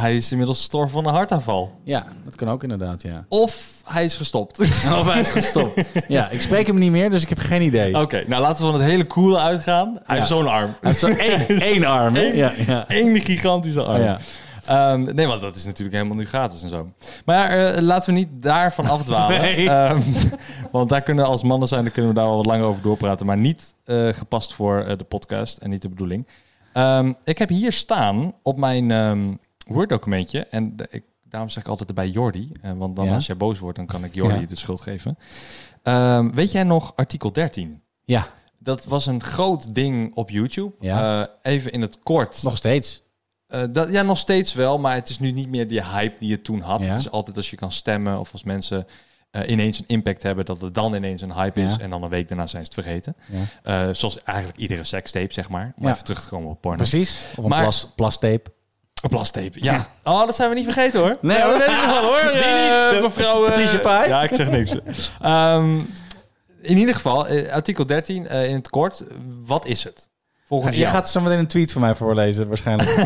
Speaker 1: hij is inmiddels gestorven van een hartaanval.
Speaker 2: Ja, dat kan ook inderdaad, ja.
Speaker 1: Of hij is [laughs] gestopt. Oké,
Speaker 2: Of hij is
Speaker 1: [laughs]
Speaker 2: gestopt. ja, ik spreek hem niet meer, dus ik heb geen idee.
Speaker 1: nou laten we van het hele coole uitgaan. Hij heeft zo'n arm.
Speaker 2: Hij heeft
Speaker 1: [laughs]
Speaker 2: zo één, één arm, hè?
Speaker 1: Eén-
Speaker 2: Ja, ja.
Speaker 1: Eén gigantische arm.
Speaker 2: Ja.
Speaker 1: Ehm, nee, want dat is natuurlijk helemaal nu gratis en zo. Maar eh, laten we niet daarvan [laughs] afdwalen.
Speaker 2: Nee.
Speaker 1: Ehm, want daar kunnen als mannen zijn, dan kunnen we daar wel wat langer over doorpraten. Maar niet eh, gepast voor eh, de podcast en niet de bedoeling. Ehm, ik heb hier staan op mijn ehm, Word-documentje. En de- ik, daarom zeg ik altijd erbij Jordi. eh, want dan
Speaker 2: Ja.
Speaker 1: als jij boos wordt, dan kan ik Jordi
Speaker 2: Ja.
Speaker 1: de schuld geven. Ehm, weet jij nog artikel 13?
Speaker 2: Ja,
Speaker 1: Dat was een groot ding op YouTube.
Speaker 2: Ja.
Speaker 1: Eh, even in het kort.
Speaker 2: nog steeds.
Speaker 1: Eh, dat, ja, nog steeds wel, maar het is nu niet meer die hype die je toen had.
Speaker 2: Ja.
Speaker 1: Het is altijd als je kan stemmen of als mensen eh, ineens een impact hebben, dat het dan ineens een hype is
Speaker 2: Ja.
Speaker 1: en dan een week daarna zijn ze het vergeten.
Speaker 2: Ja.
Speaker 1: Eh, zoals eigenlijk iedere sekstape, zeg maar. Om
Speaker 2: Ja.
Speaker 1: even terug te komen op porno.
Speaker 2: Precies. Of een
Speaker 1: Maar-
Speaker 2: plas, plastape.
Speaker 1: Een plastape, ja. Oh, dat zijn we niet vergeten hoor.
Speaker 2: Nee,
Speaker 1: Ja,
Speaker 2: hoor.
Speaker 1: dat weet ik nog wel hoor.
Speaker 2: [laughs] Die
Speaker 1: Eh,
Speaker 2: niet.
Speaker 1: mevrouw... eh,
Speaker 2: Patricia Pai.
Speaker 1: Ja, ik zeg niks. Ehm, in ieder geval, eh, artikel 13 eh, in het kort. Wat is het? Volgens
Speaker 2: Je
Speaker 1: jou.
Speaker 2: gaat zo meteen een tweet van mij voorlezen, [laughs] waarschijnlijk. ja,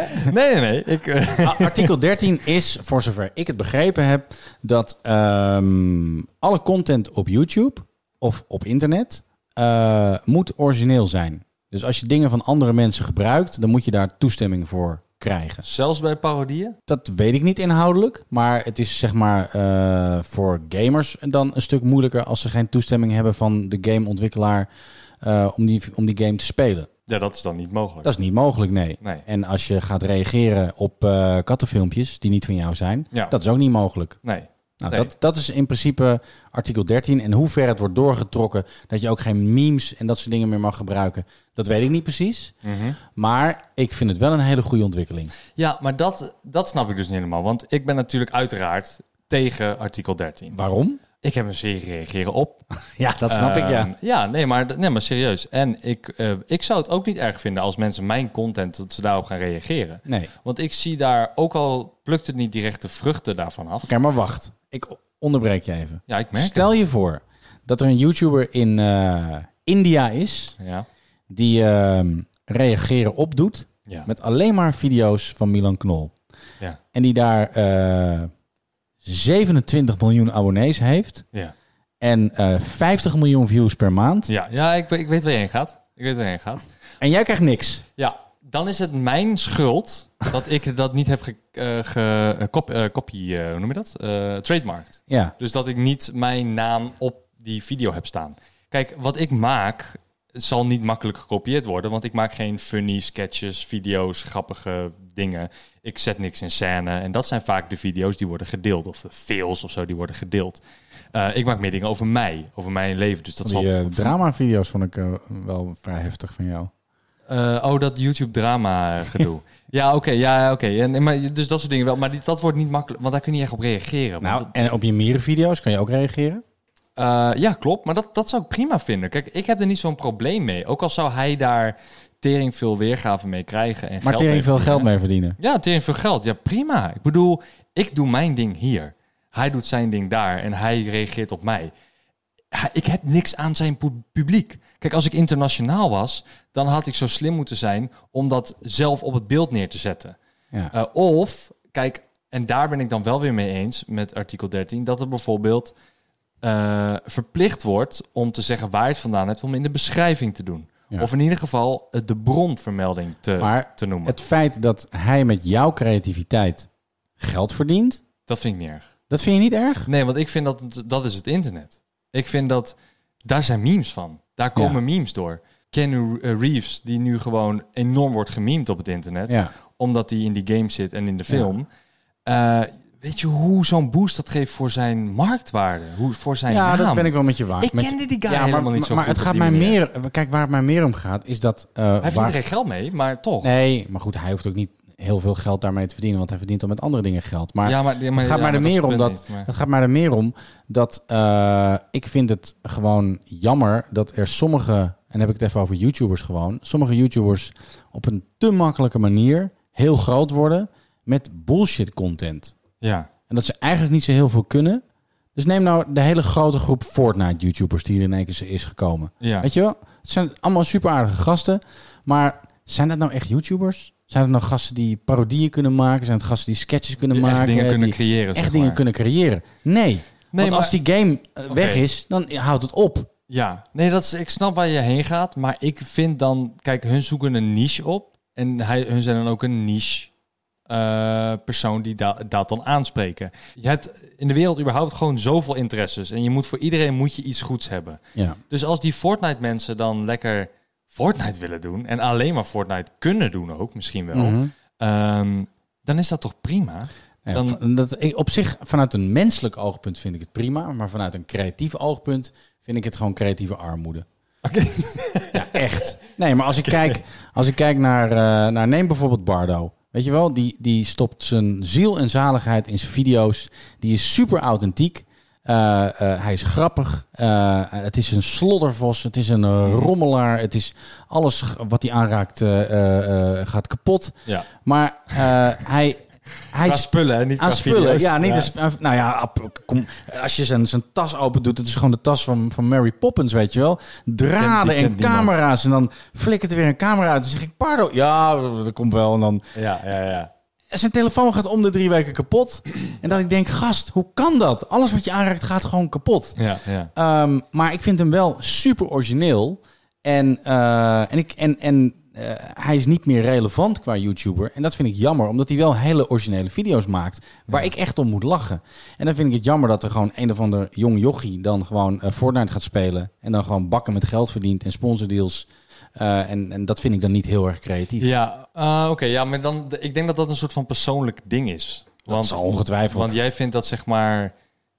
Speaker 2: hè?
Speaker 1: Nee, nee, nee. Ik, eh, [laughs]
Speaker 2: Ah, Artikel 13 is, voor zover ik het begrepen heb, dat ehm, alle content op YouTube of op internet eh, moet origineel zijn. Dus als je dingen van andere mensen gebruikt, dan moet je daar toestemming voor krijgen.
Speaker 1: zelfs bij parodieën?
Speaker 2: Dat weet ik niet inhoudelijk, maar het is zeg maar eh, voor gamers dan een stuk moeilijker als ze geen toestemming hebben van de gameontwikkelaar eh, om, die, om die game te spelen.
Speaker 1: Ja, dat is dan niet mogelijk.
Speaker 2: Dat is niet mogelijk, nee.
Speaker 1: Nee.
Speaker 2: En als je gaat reageren op eh, kattenfilmpjes die niet van jou zijn,
Speaker 1: Ja.
Speaker 2: dat is ook niet mogelijk.
Speaker 1: Nee.
Speaker 2: Nou,
Speaker 1: Nee.
Speaker 2: dat, dat is in principe artikel 13. En hoe ver het wordt doorgetrokken dat je ook geen memes en dat soort dingen meer mag gebruiken, dat weet ik niet precies.
Speaker 1: Mhm.
Speaker 2: Maar ik vind het wel een hele goede ontwikkeling.
Speaker 1: Ja, maar dat, dat snap ik dus niet helemaal. Want ik ben natuurlijk uiteraard tegen artikel 13.
Speaker 2: Waarom?
Speaker 1: Ik heb een serie reageren op.
Speaker 2: Ja, dat snap ik,
Speaker 1: Ehm, Ja, nee maar, nee, maar serieus. En ik, eh, ik zou het ook niet erg vinden als mensen mijn content, dat ze daarop gaan reageren.
Speaker 2: Nee. Oké,
Speaker 1: Want ik zie daar, ook al plukt het niet direct de vruchten daarvan af.
Speaker 2: maar wacht. Ik onderbreek je even.
Speaker 1: Ja, ik merk
Speaker 2: Stel je voor dat er een YouTuber in eh, India is
Speaker 1: het. Ja.
Speaker 2: die ehm, reageren op doet
Speaker 1: Ja.
Speaker 2: met alleen maar video's van Milan Knol.
Speaker 1: Ja.
Speaker 2: En die daar eh, 27 miljoen abonnees heeft.
Speaker 1: Ja.
Speaker 2: En eh, 50 miljoen views per maand.
Speaker 1: Ja, ja ik, ik weet waar je heen gaat. Ik weet waar je heen gaat.
Speaker 2: En jij krijgt niks.
Speaker 1: Ja, dan is het mijn schuld dat ik dat niet heb ge, eh, ge- eh, kop- eh, copy, eh, hoe noem je dat? Eh trademarked.
Speaker 2: Ja.
Speaker 1: Dus dat ik niet mijn naam op die video heb staan. Kijk, wat ik maak zal niet makkelijk gekopieerd worden, want ik maak geen funny sketches, video's, grappige dingen. Ik zet niks in scène en dat zijn vaak de video's die worden gedeeld of de fails of zo die worden gedeeld. Eh, ik maak meer dingen over mij, over mijn leven, dus dat
Speaker 2: Die
Speaker 1: zal
Speaker 2: eh, drama-video's vond ik eh, wel vrij heftig van jou.
Speaker 1: eh, oh, dat
Speaker 2: [laughs]
Speaker 1: YouTube-drama-gedoe. ja, oké, ja, oké. Ja, nee, maar dus dat soort dingen wel. Maar die- dat wordt niet makkelijk, want daar kun je niet echt op reageren. Want
Speaker 2: Nou, en op je mierenvideo's kan je ook reageren.
Speaker 1: Eh, ja, klopt. Maar dat, dat zou ik prima vinden. Kijk, ik heb er niet zo'n probleem mee. Ook al zou hij daar tering veel weergave mee krijgen. En
Speaker 2: Maar
Speaker 1: geld
Speaker 2: tering veel geld
Speaker 1: verdienen.
Speaker 2: mee verdienen.
Speaker 1: Ja, tering veel geld. Ja, prima. Ik bedoel, ik doe mijn ding hier. Hij doet zijn ding daar en hij reageert op mij. Hij- Ik heb niks aan zijn pu- publiek. Kijk, als ik internationaal was, dan had ik zo slim moeten zijn om dat zelf op het beeld neer te zetten.
Speaker 2: Ja.
Speaker 1: Eh, of, kijk, en daar ben ik dan wel weer mee eens met artikel 13, dat er bijvoorbeeld eh, verplicht wordt om te zeggen waar je het vandaan hebt, om in de beschrijving te doen.
Speaker 2: Ja.
Speaker 1: Of in ieder geval eh, de bronvermelding te,
Speaker 2: Maar
Speaker 1: te noemen.
Speaker 2: Het feit dat hij met jouw creativiteit geld verdient,
Speaker 1: Dat vind ik niet erg.
Speaker 2: dat vind je niet erg?
Speaker 1: Nee, want ik vind dat dat is het internet. Ik vind dat daar zijn memes van. Daar komen
Speaker 2: Ja.
Speaker 1: memes door. Ken Reeves, die nu gewoon enorm wordt gememd op het internet.
Speaker 2: Ja.
Speaker 1: omdat hij in die game zit en in de film. Eh, weet je hoe zo'n boost dat geeft voor zijn marktwaarde? Hoe, voor zijn
Speaker 2: Ja,
Speaker 1: naam?
Speaker 2: dat ben ik wel met je waar.
Speaker 1: Ik
Speaker 2: Met-
Speaker 1: kende die guy
Speaker 2: ja, maar,
Speaker 1: helemaal niet zo
Speaker 2: Maar
Speaker 1: goed
Speaker 2: het
Speaker 1: op
Speaker 2: gaat
Speaker 1: die
Speaker 2: mij
Speaker 1: manier.
Speaker 2: meer... Kijk, waar het mij meer om gaat, is dat... eh,
Speaker 1: Hij verdient
Speaker 2: waar-
Speaker 1: er geen geld mee, maar toch.
Speaker 2: Nee, maar goed, hij hoeft ook niet heel veel geld daarmee te verdienen, want hij verdient al met andere dingen geld. Maar,
Speaker 1: Ja, maar- ja, maar-
Speaker 2: het gaat
Speaker 1: ja,
Speaker 2: maar er
Speaker 1: maar dat is
Speaker 2: meer om
Speaker 1: het
Speaker 2: dat.
Speaker 1: punt niet, maar-
Speaker 2: Het gaat maar er meer om dat eh, ik vind het gewoon jammer dat er sommige, en dan heb ik het even over YouTubers gewoon, sommige YouTubers op een te makkelijke manier heel groot worden met bullshit content.
Speaker 1: Ja.
Speaker 2: En dat ze eigenlijk niet zo heel veel kunnen. Dus neem nou de hele grote groep Fortnite-YouTubers die er in één keer is gekomen.
Speaker 1: Ja.
Speaker 2: Weet je wel? Het zijn allemaal super aardige gasten. Maar zijn dat nou echt YouTubers? Zijn dat nou gasten die parodieën kunnen maken? Zijn het gasten die sketches kunnen
Speaker 1: Die echt
Speaker 2: maken?
Speaker 1: dingen
Speaker 2: eh,
Speaker 1: kunnen
Speaker 2: die
Speaker 1: creëren,
Speaker 2: Echt
Speaker 1: zeg
Speaker 2: dingen
Speaker 1: maar.
Speaker 2: kunnen creëren. Nee. Want
Speaker 1: maar-
Speaker 2: als die game eh, weg
Speaker 1: Oké.
Speaker 2: is, dan houdt het op.
Speaker 1: Ja, nee, dat is, ik snap waar je heen gaat, maar ik vind dan, kijk, hun zoeken een niche op en hij, hun zijn dan ook een niche eh, persoon die da- dat dan aanspreken. Je hebt in de wereld überhaupt gewoon zoveel interesses en je moet voor iedereen moet je iets goeds hebben.
Speaker 2: Ja.
Speaker 1: Dus als die Fortnite mensen dan lekker Fortnite willen doen en alleen maar Fortnite kunnen doen ook misschien wel, ehm, dan is dat toch prima.
Speaker 2: Mhm. Ja,
Speaker 1: Dan-
Speaker 2: van- dat, ik- op zich, vanuit een menselijk oogpunt vind ik het prima. Maar vanuit een creatief oogpunt vind ik het gewoon creatieve armoede. [laughs] ja, echt. Nee, maar als ik kijk, als ik kijk naar, eh, naar... Neem bijvoorbeeld Bardo. Weet je wel, die, die stopt zijn ziel en zaligheid in zijn video's. Die is super authentiek. Eh, eh, hij is grappig. Eh, het is een sloddervos. Het is een eh, rommelaar. Het is alles g- wat hij aanraakt eh, eh, eh, gaat kapot.
Speaker 1: Ja.
Speaker 2: Maar eh, hij... hij
Speaker 1: Qua spullen, hè, niet
Speaker 2: aan
Speaker 1: qua
Speaker 2: spullen.
Speaker 1: video's.
Speaker 2: Ja, niet
Speaker 1: Ja.
Speaker 2: eens- eh, nou ja, ap- kom, als je zijn, zijn tas open doet, het is gewoon de tas van, van Mary Poppins, weet je wel.
Speaker 1: Kent-
Speaker 2: Draden
Speaker 1: die
Speaker 2: en
Speaker 1: kent niemand.
Speaker 2: camera's. En dan flikkert er weer een camera uit. En zeg ik, Pardo, ja, dat komt wel. En dan
Speaker 1: Ja, ja, ja.
Speaker 2: zijn telefoon gaat om de drie weken kapot. En dat ik denk, gast, hoe kan dat? Alles wat je aanraakt gaat gewoon kapot.
Speaker 1: Ja, ja.
Speaker 2: Ehm, maar ik vind hem wel super origineel. En, eh, en, ik, en, en eh, hij is niet meer relevant qua YouTuber. En dat vind ik jammer, omdat hij wel hele originele video's maakt. Waar ik echt om moet lachen. En dan vind ik het jammer dat er gewoon een of ander jong jochie dan gewoon eh, Fortnite gaat spelen. En dan gewoon bakken met geld verdient en sponsordeals. Eh, en, en dat vind ik dan niet heel erg creatief.
Speaker 1: Ja, ah, oké. ja, maar dan, d- ik denk dat dat een soort van persoonlijk ding is.
Speaker 2: Dat zal ongetwijfeld.
Speaker 1: Want jij vindt dat zeg maar.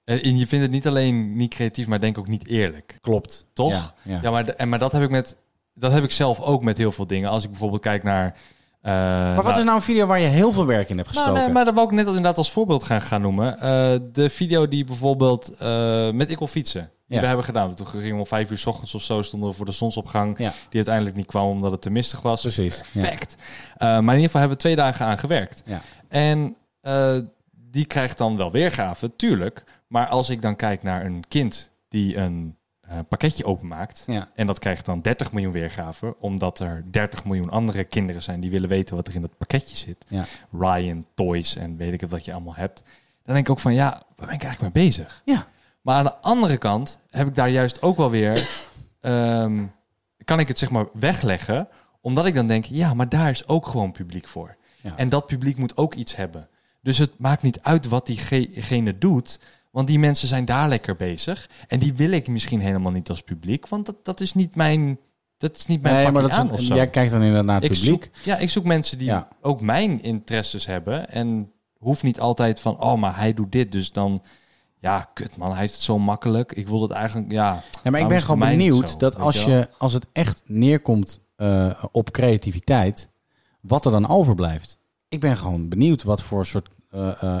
Speaker 1: eh, En je vindt het niet alleen niet creatief, maar denk ook niet eerlijk.
Speaker 2: Klopt.
Speaker 1: Toch?
Speaker 2: Ja, ja.
Speaker 1: maar, d- en, maar dat heb ik met. Dat heb ik zelf ook met heel veel dingen. Als ik bijvoorbeeld kijk naar. eh,
Speaker 2: Maar wat is nou een video waar je heel veel werk in hebt
Speaker 1: nou,
Speaker 2: gestoken?
Speaker 1: nee, maar dat wou ik net als, inderdaad als voorbeeld gaan, gaan noemen. Eh, de video die bijvoorbeeld eh, met Ik wil fietsen. Die
Speaker 2: Ja.
Speaker 1: we hebben gedaan. Toen gingen we om vijf uur s ochtends of zo stonden we voor de zonsopgang.
Speaker 2: Ja.
Speaker 1: Die uiteindelijk niet kwam omdat het te mistig was.
Speaker 2: Precies. Ja.
Speaker 1: Perfect. Eh, maar in ieder geval hebben we twee dagen aan gewerkt.
Speaker 2: Ja.
Speaker 1: En eh, die krijgt dan wel weergave, tuurlijk. Maar als ik dan kijk naar een kind die een eh, pakketje openmaakt.
Speaker 2: Ja.
Speaker 1: En dat krijgt dan 30 miljoen weergave. Omdat er 30 miljoen andere kinderen zijn die willen weten wat er in dat pakketje zit.
Speaker 2: Ja.
Speaker 1: Ryan, Toys en weet ik het wat je allemaal hebt. Dan denk ik ook van ja, waar ben ik eigenlijk mee bezig?
Speaker 2: ja.
Speaker 1: Maar aan de andere kant heb ik daar juist ook wel
Speaker 2: [coughs]
Speaker 1: weer. ehm, kan ik het zeg maar wegleggen, omdat ik dan denk: ja, maar daar is ook gewoon publiek voor.
Speaker 2: Ja.
Speaker 1: En dat publiek moet ook iets hebben. Dus het maakt niet uit wat diegene doet. Want die mensen zijn daar lekker bezig. En die wil ik misschien helemaal niet als publiek. Want dat, dat is niet mijn. Dat is niet mijn
Speaker 2: Nee,
Speaker 1: pakje
Speaker 2: maar dat
Speaker 1: aan of
Speaker 2: is,
Speaker 1: zo.
Speaker 2: jij kijkt dan inderdaad naar
Speaker 1: ik
Speaker 2: het publiek.
Speaker 1: zoek, ja, ik zoek mensen die
Speaker 2: Ja.
Speaker 1: ook mijn interesses hebben. En hoef niet altijd van, oh, maar hij doet dit. Dus dan, ja, kut man, hij heeft het zo makkelijk. Ik wil dat eigenlijk, ja.
Speaker 2: Ja, maar
Speaker 1: waarom
Speaker 2: ik
Speaker 1: is
Speaker 2: ben
Speaker 1: het
Speaker 2: gewoon
Speaker 1: bij mij niet
Speaker 2: benieuwd
Speaker 1: zo,
Speaker 2: dat
Speaker 1: weet
Speaker 2: als,
Speaker 1: wel?
Speaker 2: je, als het echt neerkomt eh, op creativiteit, wat er dan overblijft. Ik ben gewoon benieuwd wat voor soort eh, eh,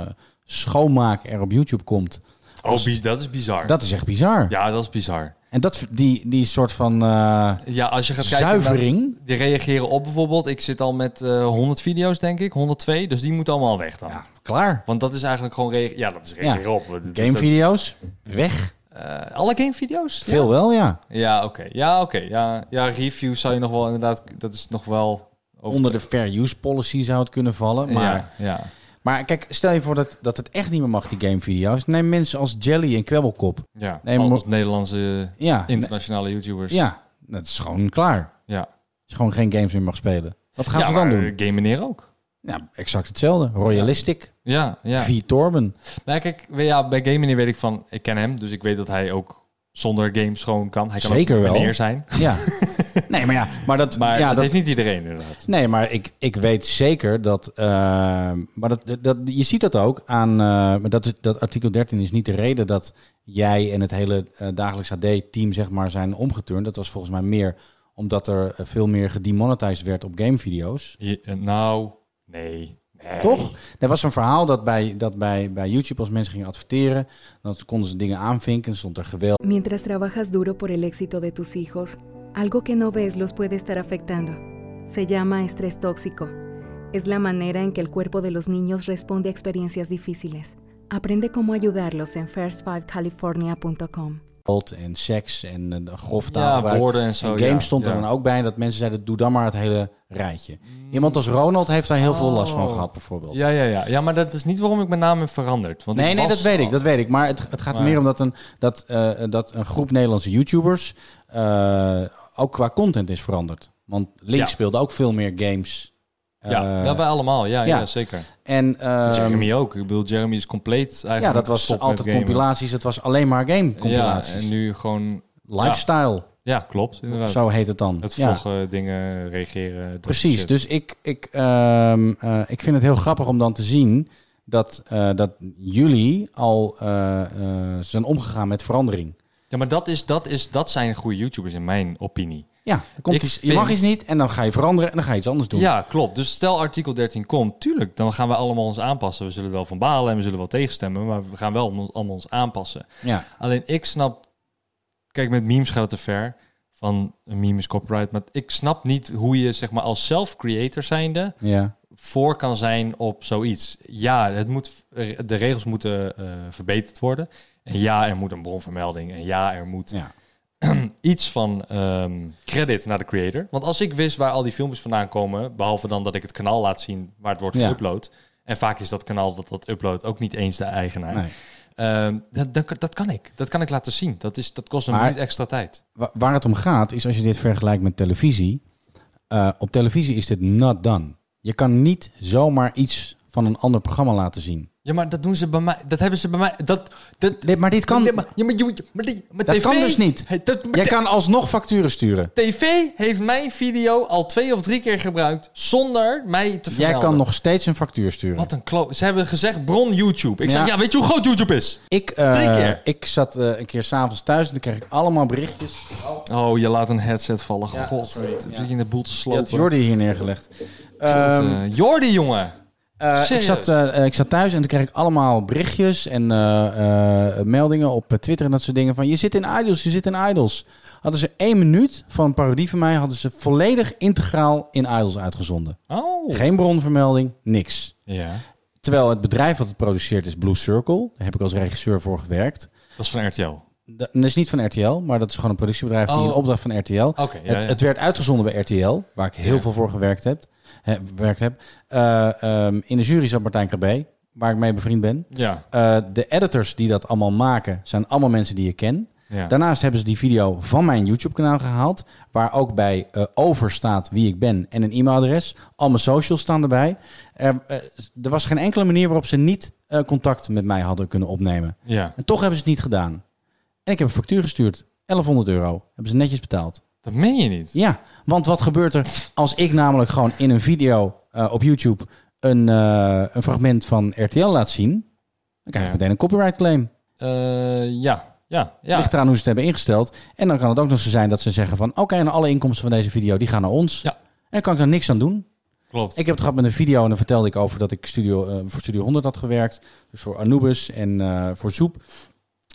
Speaker 2: eh, schoonmaak er op YouTube komt.
Speaker 1: Oh, bi- dat is bizar.
Speaker 2: Dat is echt bizar.
Speaker 1: Ja, dat is bizar.
Speaker 2: En dat, die, die soort van... eh,
Speaker 1: Ja, als je gaat kijken...
Speaker 2: Zuivering?
Speaker 1: naar- Die reageren op bijvoorbeeld. Ik zit al met eh, 100 video's, denk ik. 102. Dus die moeten allemaal weg dan.
Speaker 2: ja, klaar.
Speaker 1: Want dat is eigenlijk gewoon... reage- Ja, dat is reageren op. Dat- dat-
Speaker 2: Gamevideo's, weg.
Speaker 1: dat- eh, alle gamevideo's?
Speaker 2: Veel wel, ja.
Speaker 1: Ja, oké. Ja, oké. Ja, ja, reviews zou je nog wel inderdaad... Dat is nog wel... over-
Speaker 2: Onder de fair use policy zou het kunnen vallen. Maar,
Speaker 1: Ja, ja.
Speaker 2: maar kijk, stel je voor dat, dat het echt niet meer mag, die gamevideo's. Neem mensen als Jelly en Kwebbelkop.
Speaker 1: ja.
Speaker 2: Nee, maar-
Speaker 1: als Nederlandse
Speaker 2: Ja,
Speaker 1: internationale YouTubers.
Speaker 2: ja, dat is gewoon klaar.
Speaker 1: ja.
Speaker 2: Als je gewoon geen games meer mag spelen. Wat gaan
Speaker 1: Ja,
Speaker 2: ze dan
Speaker 1: maar,
Speaker 2: doen?
Speaker 1: eh, Game meneer ook.
Speaker 2: Ja, exact hetzelfde. Royalistic,
Speaker 1: Ja, ja.
Speaker 2: V. Torben.
Speaker 1: Nou, kijk, we- ja, bij Game Meneer weet ik van, ik ken hem, dus ik weet dat hij ook zonder games gewoon kan. Hij kan
Speaker 2: Zeker
Speaker 1: ook
Speaker 2: wel.
Speaker 1: meneer zijn. [laughs]
Speaker 2: Ja. nee, maar ja, maar dat...
Speaker 1: Maar
Speaker 2: ja,
Speaker 1: dat,
Speaker 2: dat
Speaker 1: heeft niet iedereen inderdaad.
Speaker 2: Nee, maar ik, ik weet zeker dat... eh, maar dat, dat, dat- je ziet dat ook aan... eh, maar dat, is- dat artikel 13 is niet de reden dat jij en het hele eh, dagelijks AD-team zeg maar, zijn omgeturnd. Dat was volgens mij meer omdat er eh, veel meer gedemonetized werd op gamevideo's.
Speaker 1: Je- eh, nou, nee. nee.
Speaker 2: Toch? Er was een verhaal dat, bij, dat bij, bij YouTube als mensen gingen adverteren... dan konden ze dingen aanvinken, stond er geweld.
Speaker 4: Mientras trabajas duro por el éxito de tus hijos, algo que no ves los puede estar afectando. Se llama estrés tóxico. Es la manera en que el cuerpo de los niños responde a experiencias difíciles. Aprende cómo ayudarlos en first5california.com.
Speaker 2: geweld en seks en eh, de grof
Speaker 1: Ja,
Speaker 2: taalgebruik.
Speaker 1: woorden en zo.
Speaker 2: En game
Speaker 1: ja,
Speaker 2: stond er
Speaker 1: ja.
Speaker 2: dan ook bij dat mensen zeiden, doe dan maar het hele rijtje. Iemand als Ronald heeft daar heel veel last van
Speaker 1: Oh.
Speaker 2: gehad, bijvoorbeeld.
Speaker 1: Ja, ja, ja. ja, maar dat is niet waarom ik mijn naam heb veranderd. Want
Speaker 2: Nee,
Speaker 1: ik
Speaker 2: nee,
Speaker 1: was
Speaker 2: dat weet
Speaker 1: al-
Speaker 2: ik, dat weet ik. Maar het, het gaat er meer om dat een, dat, eh, dat een groep Nederlandse YouTubers eh, ook qua content is veranderd. Want Link
Speaker 1: Ja.
Speaker 2: speelde ook veel meer games.
Speaker 1: ja,
Speaker 2: Eh,
Speaker 1: dat wij allemaal. Ja, ja.
Speaker 2: ja.
Speaker 1: zeker.
Speaker 2: en eh,
Speaker 1: Jeremy ook. Ik bedoel, Jeremy is compleet eigenlijk
Speaker 2: ja, dat was
Speaker 1: gestopt met
Speaker 2: altijd
Speaker 1: gamen.
Speaker 2: compilaties. Het was alleen maar game compilaties.
Speaker 1: Ja, en nu gewoon...
Speaker 2: Lifestyle,
Speaker 1: Ja, klopt. Inderdaad.
Speaker 2: zo heet het dan.
Speaker 1: Het
Speaker 2: Ja.
Speaker 1: vloggen, dingen, reageren. dat
Speaker 2: Precies,
Speaker 1: soort
Speaker 2: dus ik, ik, ehm, eh, ik vind het heel grappig om dan te zien dat, eh, dat jullie al eh, eh, zijn omgegaan met verandering.
Speaker 1: Ja, maar dat, is, dat, is, dat zijn goede YouTubers in mijn opinie.
Speaker 2: Ja, er komt
Speaker 1: Ik
Speaker 2: iets, je
Speaker 1: vind-
Speaker 2: mag iets niet en dan ga je veranderen en dan ga je iets anders doen.
Speaker 1: Ja, klopt. Dus stel artikel 13 komt, tuurlijk, dan gaan we allemaal ons aanpassen. We zullen wel van balen en we zullen wel tegenstemmen, maar we gaan wel om- allemaal ons aanpassen.
Speaker 2: Ja.
Speaker 1: Alleen ik snap, kijk, met memes gaat het te ver. Van een meme is copyright, maar ik snap niet hoe je zeg maar als self-creator zijnde
Speaker 2: ja.
Speaker 1: voor kan zijn op zoiets. Ja, het moet, de regels moeten eh, verbeterd worden. En ja, er moet een bronvermelding. En ja, er moet
Speaker 2: Ja.
Speaker 1: iets van ehm, credit naar de creator. Want als ik wist waar al die filmpjes vandaan komen, behalve dan dat ik het kanaal laat zien waar het wordt
Speaker 2: Ja.
Speaker 1: geüpload. En vaak is dat kanaal dat dat uploadt ook niet eens de eigenaar.
Speaker 2: Nee.
Speaker 1: Ehm, dat, dat, dat kan ik. Dat kan ik laten zien. Dat, is, dat kost me
Speaker 2: Maar-
Speaker 1: niet extra tijd.
Speaker 2: Wa- Waar het om gaat is als je dit vergelijkt met televisie. eh, op televisie is dit not done. Je kan niet zomaar iets van een ander programma laten zien.
Speaker 1: Ja, maar dat doen ze bij mij. Dat hebben ze bij mij. Dat, dat,
Speaker 2: Nee, maar dit kan,
Speaker 1: Nee, maar, ja, maar, je- je- maar die- maar
Speaker 2: dat
Speaker 1: tv
Speaker 2: kan dus niet.
Speaker 1: Hey, dat- maar
Speaker 2: Jij
Speaker 1: de-
Speaker 2: kan alsnog facturen sturen.
Speaker 1: TV heeft mijn video al twee of drie keer gebruikt zonder mij te vermelden.
Speaker 2: Jij kan nog steeds een factuur sturen.
Speaker 1: Wat een klo... Ze hebben gezegd bron YouTube. Ik
Speaker 2: Ja.
Speaker 1: zeg, ja, weet je hoe groot YouTube is?
Speaker 2: Ik, eh,
Speaker 1: Drie keer.
Speaker 2: ik zat eh, een keer s'avonds thuis en dan kreeg ik allemaal berichtjes.
Speaker 1: Oh, je laat een headset vallen. God, zit je in de boel te
Speaker 2: Die had
Speaker 1: slopen.
Speaker 2: Jordi hier neergelegd. Ehm,
Speaker 1: Eh, Jordi, jongen.
Speaker 2: eh, ik,
Speaker 1: serieus?
Speaker 2: zat, eh, eh, ik zat thuis en toen kreeg ik allemaal berichtjes en eh, eh, meldingen op eh, Twitter en dat soort dingen. Van je zit in Idols, je zit in Idols. Hadden ze één minuut van een parodie van mij, hadden ze volledig integraal in Idols uitgezonden.
Speaker 1: Oh.
Speaker 2: Geen bronvermelding, niks.
Speaker 1: Ja.
Speaker 2: Terwijl het bedrijf dat het produceert is Blue Circle. Daar heb ik als regisseur voor gewerkt.
Speaker 1: Dat is van RTL.
Speaker 2: Dat dat is niet van RTL, maar dat is gewoon een productiebedrijf die
Speaker 1: Oh.
Speaker 2: in opdracht van RTL.
Speaker 1: Oké, ja,
Speaker 2: het,
Speaker 1: ja.
Speaker 2: het werd uitgezonden bij RTL, waar ik heel
Speaker 1: Ja.
Speaker 2: veel voor gewerkt heb. He, gewerkt heb. Eh, ehm, in de jury zat Martijn Krabbe, waar ik mee bevriend ben.
Speaker 1: Ja.
Speaker 2: Eh, de editors die dat allemaal maken, zijn allemaal mensen die je ken.
Speaker 1: ja.
Speaker 2: Daarnaast hebben ze die video van mijn YouTube-kanaal gehaald, waar ook bij eh, over staat wie ik ben en een e-mailadres. Al mijn socials staan erbij. Er, eh, er was geen enkele manier waarop ze niet eh, eh, contact met mij hadden kunnen opnemen.
Speaker 1: Ja,
Speaker 2: En toch hebben ze het niet gedaan. En ik heb een factuur gestuurd. 1100 euro. Hebben ze netjes betaald.
Speaker 1: dat meen je niet.
Speaker 2: Ja, want wat gebeurt er als ik namelijk gewoon in een video eh, op YouTube een, eh, een fragment van RTL laat zien? Dan krijg ik
Speaker 1: Ja.
Speaker 2: meteen een copyright claim.
Speaker 1: Eh, ja, ja, ja.
Speaker 2: Ligt eraan hoe ze het hebben ingesteld. En dan kan het ook nog zo zijn dat ze zeggen van... oké, en alle inkomsten van deze video die gaan naar ons.
Speaker 1: Ja.
Speaker 2: En daar kan ik daar niks aan doen.
Speaker 1: Klopt.
Speaker 2: Ik heb het gehad met een video en dan vertelde ik over dat ik studio, eh, voor Studio 100 had gewerkt. Dus voor Anubis en eh, voor Zoep.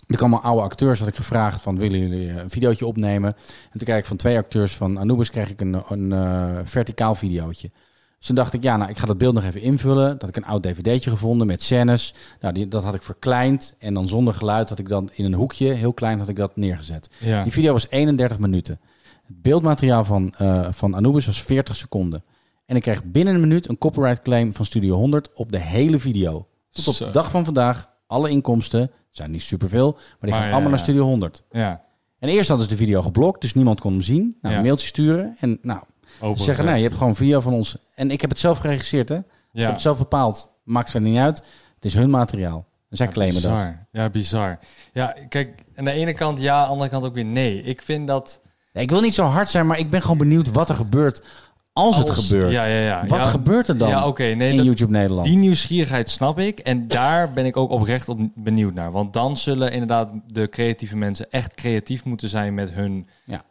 Speaker 2: Er kwamen oude acteurs, had ik gevraagd van willen jullie eh, een videootje opnemen. En toen kreeg ik van twee acteurs van Anubis kreeg ik een, een eh, verticaal videootje. Dus toen dacht ik, ja, nou, ik ga dat beeld nog even invullen. Dat had ik een oud dvd'tje gevonden met scènes. Nou, die, dat had ik verkleind. En dan zonder geluid had ik dan in een hoekje, heel klein, had ik dat neergezet.
Speaker 1: Ja.
Speaker 2: Die video was 31 minuten. Het beeldmateriaal van, eh, van Anubis was 40 seconden. En ik kreeg binnen een minuut een copyright claim van Studio 100 op de hele video. Tot op
Speaker 1: Zo.
Speaker 2: de dag van vandaag, alle inkomsten, zijn niet superveel, maar die gaan
Speaker 1: ja,
Speaker 2: allemaal naar
Speaker 1: ja.
Speaker 2: Studio 100.
Speaker 1: Ja,
Speaker 2: En eerst hadden ze de video geblokt, dus niemand kon hem zien. Nou,
Speaker 1: Ja.
Speaker 2: een mailtje sturen en nou,
Speaker 1: open.
Speaker 2: ze zeggen, nee, je hebt gewoon een video van ons. En ik heb het zelf geregisseerd, hè? Ik heb
Speaker 1: ja.
Speaker 2: het zelf bepaald. Maakt verder niet uit. Het is hun materiaal. En zij claimen
Speaker 1: bizar.
Speaker 2: dat.
Speaker 1: Ja, bizar. Ja, kijk, aan de ene kant ja, aan de andere kant ook weer nee. Ik vind dat...
Speaker 2: Nee, ik wil niet zo hard zijn, maar ik ben gewoon benieuwd wat er gebeurt als, het
Speaker 1: Als-
Speaker 2: gebeurt.
Speaker 1: Ja, ja, ja.
Speaker 2: Wat
Speaker 1: Ja,
Speaker 2: gebeurt er dan
Speaker 1: Ja, oké. nee,
Speaker 2: in
Speaker 1: dat-
Speaker 2: YouTube Nederland?
Speaker 1: Die nieuwsgierigheid snap ik. En daar ben ik ook oprecht op benieuwd naar. Want dan zullen inderdaad de creatieve mensen echt creatief moeten zijn met hun
Speaker 2: Ja.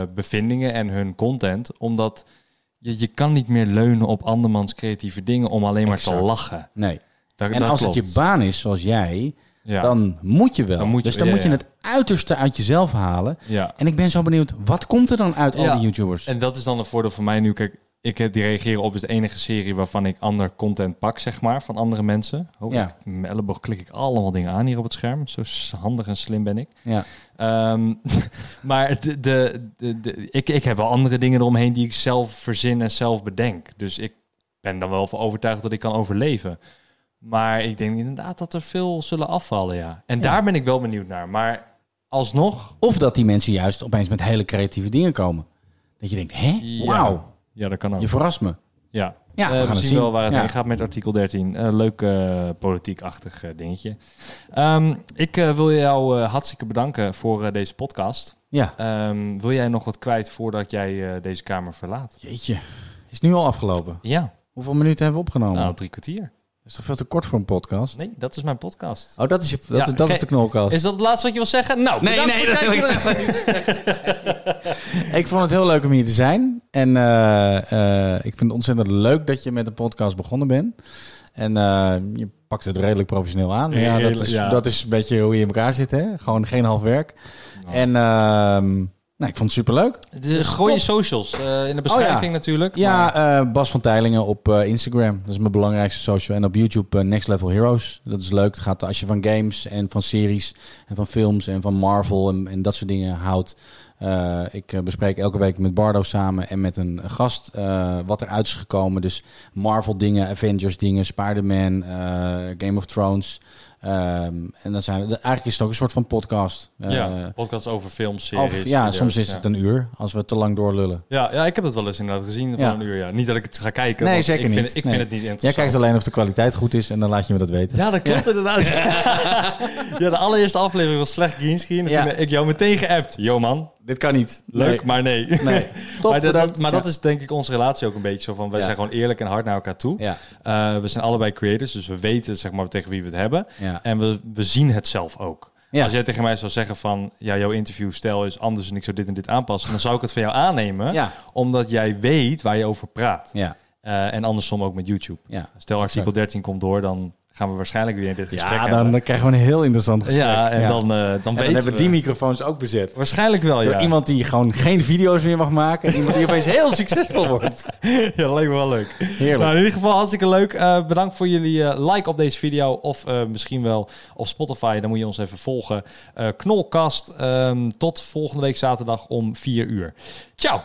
Speaker 1: eh, bevindingen en hun content. Omdat je, je kan niet meer leunen op andermans creatieve dingen om alleen maar
Speaker 2: Exact.
Speaker 1: te lachen.
Speaker 2: Nee.
Speaker 1: Dat-
Speaker 2: En
Speaker 1: dat
Speaker 2: als
Speaker 1: klopt.
Speaker 2: het je baan is, zoals jij,
Speaker 1: Ja.
Speaker 2: dan moet je wel.
Speaker 1: Dan moet je-
Speaker 2: dus dan
Speaker 1: ja,
Speaker 2: moet je
Speaker 1: ja.
Speaker 2: het uiterste uit jezelf halen.
Speaker 1: Ja.
Speaker 2: En ik ben zo benieuwd, wat komt er dan uit al
Speaker 1: Ja.
Speaker 2: die YouTubers?
Speaker 1: En dat is dan een voordeel van mij nu. Kijk, ik heb die reageren op is de enige serie waarvan ik ander content pak, zeg maar, van andere mensen. Oh,
Speaker 2: Ja.
Speaker 1: ik- met mijn elleboog klik ik allemaal dingen aan hier op het scherm. Zo s- handig en slim ben ik.
Speaker 2: Ja.
Speaker 1: Ehm, [laughs] maar de, de, de, de- ik, ik heb wel andere dingen eromheen die ik zelf verzin en zelf bedenk. Dus ik ben dan wel van overtuigd dat ik kan overleven. Maar ik denk inderdaad dat er veel zullen afvallen, ja. En daar ben ik wel benieuwd naar. Maar alsnog...
Speaker 2: Of dat die mensen juist opeens met hele creatieve dingen komen. Dat je denkt, hè?
Speaker 1: ja.
Speaker 2: Wauw,
Speaker 1: Ja, dat kan ook.
Speaker 2: je verrast me.
Speaker 1: Ja,
Speaker 2: Ja,
Speaker 1: Eh,
Speaker 2: we gaan
Speaker 1: we
Speaker 2: het
Speaker 1: zien,
Speaker 2: zien.
Speaker 1: wel waar het
Speaker 2: Ja.
Speaker 1: heen gaat met artikel 13. Eh, leuk eh, politiek-achtig eh, dingetje. Ehm, ik eh, wil jou eh, hartstikke bedanken voor eh, deze podcast.
Speaker 2: Ja.
Speaker 1: Ehm, wil jij nog wat kwijt voordat jij eh, deze kamer verlaat?
Speaker 2: Jeetje, is nu al afgelopen.
Speaker 1: Ja,
Speaker 2: Hoeveel minuten hebben we opgenomen?
Speaker 1: nou, drie kwartier.
Speaker 2: Dat is toch veel te kort voor een podcast?
Speaker 1: Nee, dat is mijn podcast.
Speaker 2: Oh, dat is, je, dat,
Speaker 1: Ja,
Speaker 2: is- dat is
Speaker 1: ge-
Speaker 2: de knolkast.
Speaker 1: Is dat het laatste wat je wil zeggen? Nou,
Speaker 2: Nee,
Speaker 1: bedankt
Speaker 2: nee,
Speaker 1: voor het
Speaker 2: dat wil
Speaker 1: kijken.
Speaker 2: Ik vond het heel leuk om hier te zijn. En eh, eh, ik vind het ontzettend leuk dat je met de podcast begonnen bent. En eh, je pakt het redelijk professioneel aan. Maar Ja, dat,
Speaker 1: Redelijk,
Speaker 2: is,
Speaker 1: ja.
Speaker 2: dat is een beetje hoe je in elkaar zit, hè? Gewoon geen half werk. En ehm, nou, ik vond het superleuk.
Speaker 1: De- Gooi je socials eh, in de beschrijving natuurlijk.
Speaker 2: Oh, Ja,
Speaker 1: maar-
Speaker 2: eh, Bas van Teilingen op eh, Instagram. Dat is mijn belangrijkste social. En op YouTube eh, Next Level Heroes. Dat is leuk. Het gaat als je van games en van series en van films en van Marvel en, en dat soort dingen houdt. Eh, ik eh, bespreek elke week met Bardo samen en met een gast eh, wat eruit is gekomen. Dus Marvel dingen, Avengers dingen, Spider-Man, eh, Game of Thrones. Ehm, en dan zijn we, eigenlijk is het ook een soort van podcast. Eh,
Speaker 1: ja, podcasts over films,
Speaker 2: of-
Speaker 1: series.
Speaker 2: ja,
Speaker 1: video's,
Speaker 2: soms is
Speaker 1: ja.
Speaker 2: het een uur als we te lang doorlullen.
Speaker 1: Ja, ja, ik heb het wel eens inderdaad gezien van
Speaker 2: Ja.
Speaker 1: een uur. Ja. Niet dat ik het ga kijken.
Speaker 2: Nee,
Speaker 1: want
Speaker 2: zeker
Speaker 1: ik vind,
Speaker 2: niet.
Speaker 1: Ik
Speaker 2: Nee.
Speaker 1: vind het niet
Speaker 2: Jij
Speaker 1: interessant.
Speaker 2: kijkt alleen of de kwaliteit goed is en dan laat je me dat weten.
Speaker 1: Ja, dat klopt
Speaker 2: [laughs]
Speaker 1: inderdaad. ja, de allereerste aflevering was slecht greenscreen. En
Speaker 2: Ja.
Speaker 1: toen heb ik jou meteen geappt. Yo man,
Speaker 2: Dit kan niet.
Speaker 1: leuk, maar nee. [laughs]
Speaker 2: Nee. Top,
Speaker 1: maar dat,
Speaker 2: bedankt.
Speaker 1: dat- maar dat
Speaker 2: Ja.
Speaker 1: is denk ik onze relatie ook een beetje zo van... wij
Speaker 2: Ja.
Speaker 1: zijn gewoon eerlijk en hard naar elkaar toe.
Speaker 2: Ja.
Speaker 1: Eh, we zijn allebei creators, dus we weten zeg maar tegen wie we het hebben.
Speaker 2: Ja.
Speaker 1: En we, we zien het zelf ook.
Speaker 2: Ja.
Speaker 1: Als jij tegen mij zou zeggen van... ja, jouw interviewstijl is anders en ik zou dit en dit aanpassen... dan zou ik het van jou aannemen.
Speaker 2: Ja.
Speaker 1: Omdat jij weet waar je over praat.
Speaker 2: Ja.
Speaker 1: Eh, en andersom ook met YouTube.
Speaker 2: Ja.
Speaker 1: Stel artikel 13 komt door, dan gaan we waarschijnlijk weer dit gesprek
Speaker 2: Ja,
Speaker 1: hebben.
Speaker 2: dan krijgen we een heel interessant gesprek.
Speaker 1: Ja, en dan, eh, dan
Speaker 2: En dan
Speaker 1: weten
Speaker 2: hebben
Speaker 1: we.
Speaker 2: we die microfoons ook bezet.
Speaker 1: Waarschijnlijk wel,
Speaker 2: Door
Speaker 1: ja.
Speaker 2: iemand die gewoon geen video's meer mag maken. En iemand die
Speaker 1: [laughs]
Speaker 2: opeens heel succesvol wordt.
Speaker 1: Ja, dat lijkt me wel leuk.
Speaker 2: Heerlijk.
Speaker 1: Nou, in ieder geval hartstikke leuk. Eh, bedankt voor jullie eh, like op deze video. Of eh, misschien wel op Spotify. Dan moet je ons even volgen. Eh Knolkast. ehm, tot volgende week zaterdag om 4 uur. Ciao.